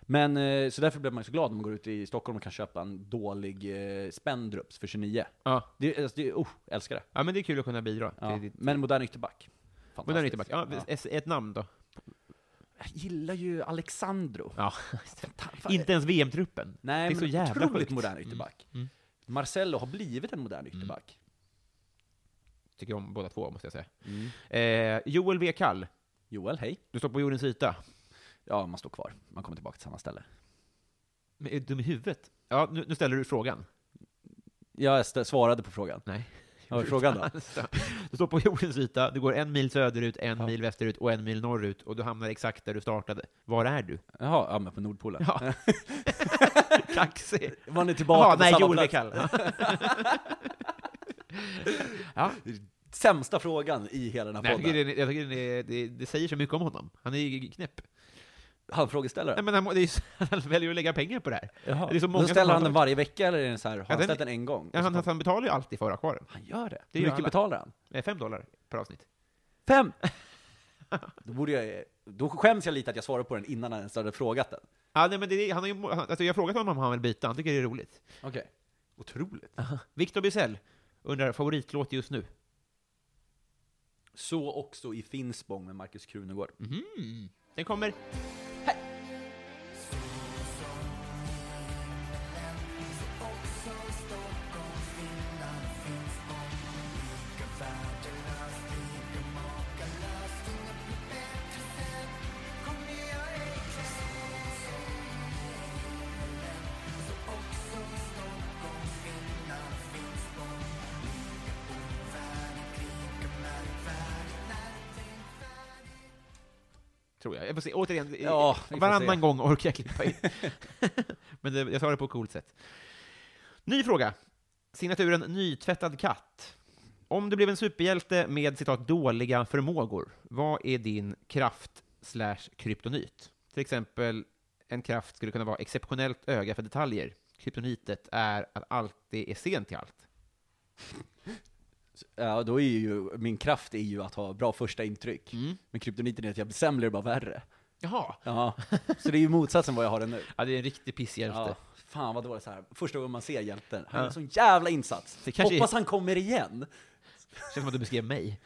Speaker 2: Men, eh, så därför blev man ju så glad när man går ut i Stockholm och kan köpa en dålig eh, Spendrups för 29.
Speaker 1: Ja.
Speaker 2: Det, är- alltså, det, är- oh, jag älskar det.
Speaker 1: ja, men det är kul att kunna bidra.
Speaker 2: Ja.
Speaker 1: till ditt-
Speaker 2: Men modern ytterback.
Speaker 1: modern
Speaker 2: Fantastiskt.
Speaker 1: ytterback. Ja,
Speaker 2: Ja.
Speaker 1: ett- Ett namn då?
Speaker 2: Jag gillar ju Alexandro.
Speaker 1: Ja.
Speaker 2: Fan,
Speaker 1: Inte ens VM-truppen.
Speaker 2: Nej,
Speaker 1: det är
Speaker 2: men
Speaker 1: så jävla
Speaker 2: otroligt
Speaker 1: sjukt. Mm.
Speaker 2: modern ytterback. Marcello har blivit en modern ytterback.
Speaker 1: Tycker om båda två, måste jag säga.
Speaker 2: Mm.
Speaker 1: Eh, Joel W. Kall,
Speaker 2: Joel, hej.
Speaker 1: du står på jordens yta.
Speaker 2: Ja, man står kvar. Man kommer tillbaka till samma ställe.
Speaker 1: Men är du dum i huvudet? Ja, nu, nu ställer du frågan.
Speaker 2: Jag stä- svarade på frågan.
Speaker 1: Nej.
Speaker 2: Vad var frågan då?
Speaker 1: Du står på jordens yta, du går en mil söderut, en mil västerut och en mil norrut, och du hamnar exakt där du startade. Var är du?
Speaker 2: Jaha, ja men på Nordpolen.
Speaker 1: Ja. Kaxig.
Speaker 2: Var ni tillbaka
Speaker 1: Jaha,
Speaker 2: på
Speaker 1: nej,
Speaker 2: samma
Speaker 1: Joel
Speaker 2: plats?
Speaker 1: Wekall. ja.
Speaker 2: Sämsta frågan i hela den
Speaker 1: Nej,
Speaker 2: här
Speaker 1: jag tycker,
Speaker 2: podden.
Speaker 1: det, jag tycker det, det, det säger så mycket om honom. Han är ju knäpp.
Speaker 2: Han
Speaker 1: Nej,
Speaker 2: frågeställaren?
Speaker 1: men han, må- det är ju så, han väljer att lägga pengar på det här.
Speaker 2: Jaha.
Speaker 1: det är så många
Speaker 2: Då ställer
Speaker 1: som har-
Speaker 2: han den varje vecka, eller är den så här, har han
Speaker 1: den-
Speaker 2: ställt den en gång?
Speaker 1: Ja,
Speaker 2: Och så
Speaker 1: han,
Speaker 2: tar-
Speaker 1: han, han betalar ju alltid för att ha kvar den.
Speaker 2: han gör det?
Speaker 1: Det
Speaker 2: Hur
Speaker 1: gör
Speaker 2: mycket
Speaker 1: alla.
Speaker 2: betalar han?
Speaker 1: Eh, Fem dollar per avsnitt.
Speaker 2: Fem! Då, borde jag, då skäms jag lite att jag svarade på den innan han ens hade frågat den.
Speaker 1: Ja, nej, men det, är- han har ju, må- han, alltså jag har frågat honom om han vill byta, han tycker det är roligt.
Speaker 2: Okej. Otroligt.
Speaker 1: Victor Bizell undrar favoritlåt just nu.
Speaker 2: Så också i Finspång med Markus Krunegård.
Speaker 1: Den kommer... Tror jag. Jag får se, återigen, i-
Speaker 2: Ja, vi får
Speaker 1: varannan
Speaker 2: se.
Speaker 1: gång orkar jag klippa in. Men det, jag tar det på ett coolt sätt. Ny fråga. Signaturen Nytvättad katt. Om du blev en superhjälte med citat dåliga förmågor, vad är din kraft slash kryptonit? Till exempel, en kraft skulle kunna vara exceptionellt öga för detaljer. Kryptonitet är att alltid är sen till allt.
Speaker 2: Ja, då är ju, min kraft är ju att ha bra första intryck.
Speaker 1: Mm.
Speaker 2: Men kryptoniten är att jag blir sämre, bara värre.
Speaker 1: Jaha!
Speaker 2: Ja, så det är ju motsatsen vad jag har den nu.
Speaker 1: Ja, det är en riktig pisshjälte.
Speaker 2: Ja, fan vad dåligt så här. första gången man ser hjälten, han gör en sån jävla insats.
Speaker 1: Det kanske är-
Speaker 2: Hoppas han kommer igen.
Speaker 1: Känns som att du beskrev mig.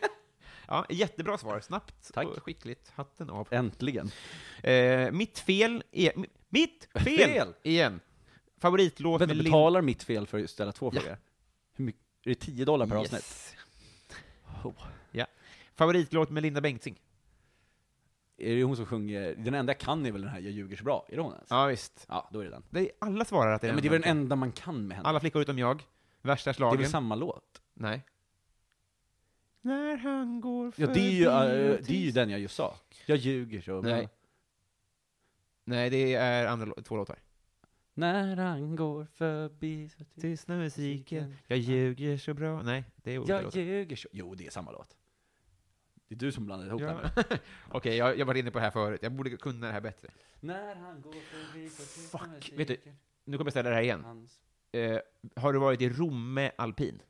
Speaker 1: ja, jättebra svar. Snabbt
Speaker 2: Tack.
Speaker 1: och skickligt. Hatten av.
Speaker 2: Äntligen.
Speaker 1: Eh, mitt fel är... mi- Mitt fel!
Speaker 2: Fel!
Speaker 1: Igen. Favoritlåt
Speaker 2: Vänta,
Speaker 1: med
Speaker 2: betalar mitt fel för att ställa två
Speaker 1: Ja.
Speaker 2: frågor? Hur mycket? Är det 10 dollar per
Speaker 1: Lin-
Speaker 2: avsnitt?
Speaker 1: Oh. Yes. Ja. Favoritlåt med Linda Bengtzing.
Speaker 2: Är det hon som sjunger, den enda jag kan är väl den här 'Jag ljuger så bra'? Är det hon ens?
Speaker 1: Ja, visst.
Speaker 2: Ja, då är det den.
Speaker 1: Det är, alla svarar att det är
Speaker 2: Ja,
Speaker 1: den
Speaker 2: men det är väl
Speaker 1: man
Speaker 2: den enda man kan med
Speaker 1: kan.
Speaker 2: henne?
Speaker 1: Alla flickor utom jag. Värsta
Speaker 2: det är
Speaker 1: slagen.
Speaker 2: väl samma låt?
Speaker 1: Nej. När han går
Speaker 2: Ja, det är
Speaker 1: förbi
Speaker 2: ju, eh,
Speaker 1: och
Speaker 2: det är ju
Speaker 1: tyst-
Speaker 2: den jag just sa. Jag ljuger så bra.
Speaker 1: Nej. Nej, det är andra, lå- två låtar.
Speaker 2: När han går förbi så tyst.
Speaker 1: Tystna musiken, jag ljuger så bra. Nej, det är olika
Speaker 2: Jag
Speaker 1: låtar.
Speaker 2: ljuger så... Jo, det är samma låt. Det är du som blandade ihop
Speaker 1: Ja.
Speaker 2: dem.
Speaker 1: Okej, jag, jag var inne på det här förut. Jag borde kunna det här bättre.
Speaker 2: När han går förbi så tyst.
Speaker 1: Fuck, vet du, Nu kommer jag ställa det här igen.
Speaker 2: Hans...
Speaker 1: Eh, har du varit i Romme alpin?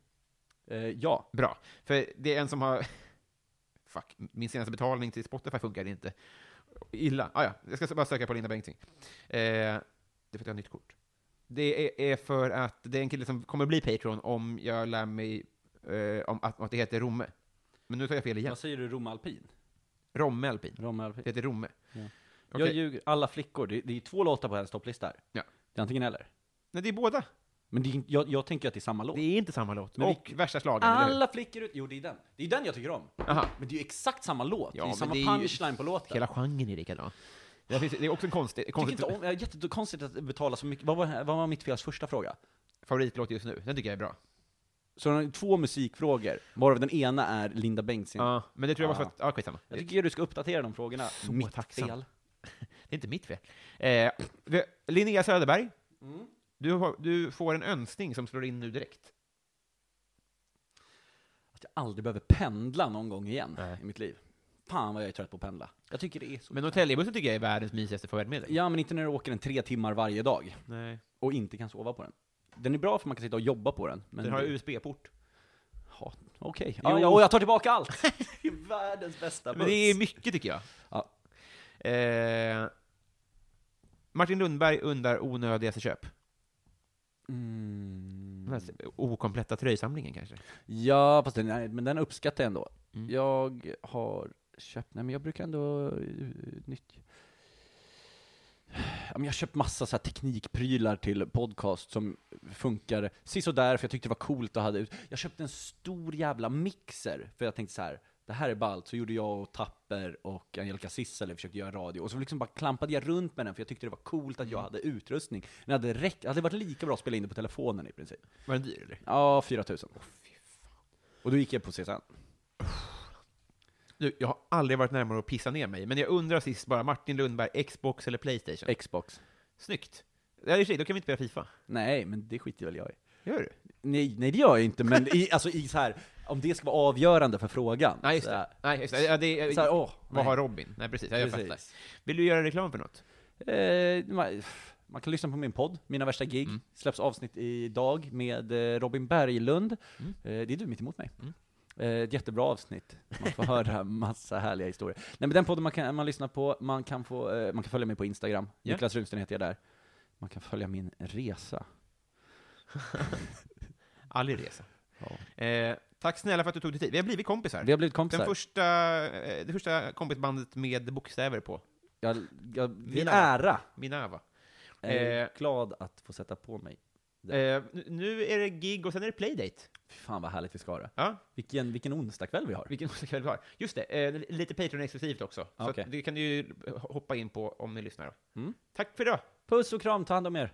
Speaker 2: Eh, ja.
Speaker 1: Bra. För det är en som har... Fuck, min senaste betalning till Spotify funkade inte. Illa. Ah, ja. Jag ska bara söka på Linda Bengtzing. Eh, det är för att jag har nytt kort. Det är, är för att det är en kille som kommer bli Patreon om jag lär mig eh, om att, att det heter Romme. Men nu tar jag fel igen.
Speaker 2: Vad säger du, Rom Alpin?
Speaker 1: Romme alpin.
Speaker 2: Rom
Speaker 1: Det
Speaker 2: Alpin.
Speaker 1: heter Romme.
Speaker 2: Ja.
Speaker 1: Okej.
Speaker 2: Jag ljuger. Alla flickor. Det, det är två låtar på hennes topplista här.
Speaker 1: Ja.
Speaker 2: Det är antingen eller.
Speaker 1: Nej, det är båda.
Speaker 2: Men det, är in- jag, jag tänker att det är samma låt.
Speaker 1: Det är inte samma låt.
Speaker 2: Men Ah,
Speaker 1: och värsta slagen, eller hur?
Speaker 2: Alla flickor ut... Jo, det är den. Det är den jag tycker om.
Speaker 1: Aha.
Speaker 2: Men det är ju exakt samma låt.
Speaker 1: Ja,
Speaker 2: det är
Speaker 1: men
Speaker 2: samma
Speaker 1: det är ju-
Speaker 2: punchline på låten.
Speaker 1: Hela genren är likadan. Det, här finns, det är också en konstig,
Speaker 2: Jag tycker
Speaker 1: konstig
Speaker 2: inte om, det är jättekonstigt att betala så mycket. Vad var, vad var mitt fels första fråga?
Speaker 1: favoritlåt just nu. Den tycker jag är bra.
Speaker 2: Så har två musikfrågor, varav den ena är Linda Bengtzing.
Speaker 1: Ja, Mm. men det tror jag var för
Speaker 2: Ja.
Speaker 1: att... Ja, skitsamma.
Speaker 2: Jag tycker du ska uppdatera de frågorna.
Speaker 1: Så
Speaker 2: mitt
Speaker 1: tacksam.
Speaker 2: fel.
Speaker 1: Det är inte mitt fel. Eh, vi- Linnea Söderberg,
Speaker 2: Mm.
Speaker 1: du, har, du får en önskning som slår in nu direkt.
Speaker 2: Att jag aldrig behöver pendla någon gång igen
Speaker 1: Nej.
Speaker 2: i mitt liv. Fan vad jag är trött på att pendla. Jag tycker det är så...
Speaker 1: Men Norrtäljebussen tycker jag är världens mysigaste färdmedel.
Speaker 2: Ja, men inte när du åker den tre timmar varje dag
Speaker 1: Nej.
Speaker 2: och inte kan sova på den. Den är bra för man kan sitta och jobba på den. Men
Speaker 1: Den har
Speaker 2: det-
Speaker 1: USB-port.
Speaker 2: Ja, Okej. Ja,
Speaker 1: Jo.
Speaker 2: ja, och jag tar tillbaka allt! det är världens bästa buss.
Speaker 1: Men det är mycket tycker jag.
Speaker 2: Ja.
Speaker 1: Eh, Martin Lundberg undrar onödigaste köp.
Speaker 2: Mm.
Speaker 1: Den här Okompletta tröjsamlingen kanske?
Speaker 2: Ja, fast den, nej, men den uppskattar jag ändå. Jag har köpt, nej men jag brukar ändå eh, nyttja... Ja, men jag har köpt massa så här teknikprylar till podcast som funkar sisådär för jag tyckte det var coolt att ha det ut. Jag köpte en stor jävla mixer för jag tänkte så här. Det här är ballt, så gjorde jag och Tapper och Angelica Sissele försökte göra radio, och så liksom bara klampade jag runt med den för jag tyckte det var coolt att jag hade utrustning. Den hade räckt, det hade varit lika bra att spela in det på telefonen i princip.
Speaker 1: Var den dyr eller?
Speaker 2: Ja, 4000. Och då gick jag på CSN.
Speaker 1: Du, jag har aldrig varit närmare att pissa ner mig, men jag undrar sist bara, Martin Lundberg, Xbox eller Playstation?
Speaker 2: Xbox.
Speaker 1: Snyggt. Ja, i och för sig, då kan vi inte spela Fifa.
Speaker 2: Nej, men det skiter väl jag i.
Speaker 1: Gör du?
Speaker 2: Nej, nej det gör jag inte, men i, alltså i så här, om det ska vara avgörande för frågan.
Speaker 1: Nej, just
Speaker 2: så här,
Speaker 1: det. Nej, just det. Ja, det
Speaker 2: Så här, åh,
Speaker 1: vad
Speaker 2: nej.
Speaker 1: har Robin? Nej, precis. Ja, jag
Speaker 2: Precis.
Speaker 1: fattar. Vill du göra reklam för något?
Speaker 2: Eh, man, man kan lyssna på min podd, Mina värsta gig.
Speaker 1: Mm.
Speaker 2: Släpps avsnitt idag med eh, Robin Berglund.
Speaker 1: Mm.
Speaker 2: Eh, det är du mitt emot mig.
Speaker 1: Mm.
Speaker 2: Eh, ett jättebra avsnitt. Man får höra massa härliga historier. Nej men den podden man kan man lyssna på, man kan, få, eh, man kan följa mig på Instagram.
Speaker 1: Ja.
Speaker 2: Niklas Runsten heter jag där. Man kan följa min resa.
Speaker 1: Aldrig resa. Eh, tack snälla för att du tog dig tid. Vi har blivit kompisar.
Speaker 2: Vi har blivit kompisar.
Speaker 1: Den första, eh, det första kompisbandet med bokstäver på.
Speaker 2: Jag, jag, det är en
Speaker 1: Mina.
Speaker 2: ära.
Speaker 1: Minava.
Speaker 2: Jag är
Speaker 1: Eh.
Speaker 2: glad att få sätta på mig.
Speaker 1: Eh, nu- nu är det gig och sen är det playdate.
Speaker 2: Fy fan vad härligt vi ska ha det.
Speaker 1: Ja,
Speaker 2: Vilken, vilken onsdagkväll vi har.
Speaker 1: vilken kväll vi har. Just det, eh, lite Patreon-exklusivt också. Så
Speaker 2: Ah, Okej.
Speaker 1: att det kan du ju hoppa in på om ni lyssnar. då.
Speaker 2: Mm.
Speaker 1: Tack för idag!
Speaker 2: Puss och kram, ta hand om er.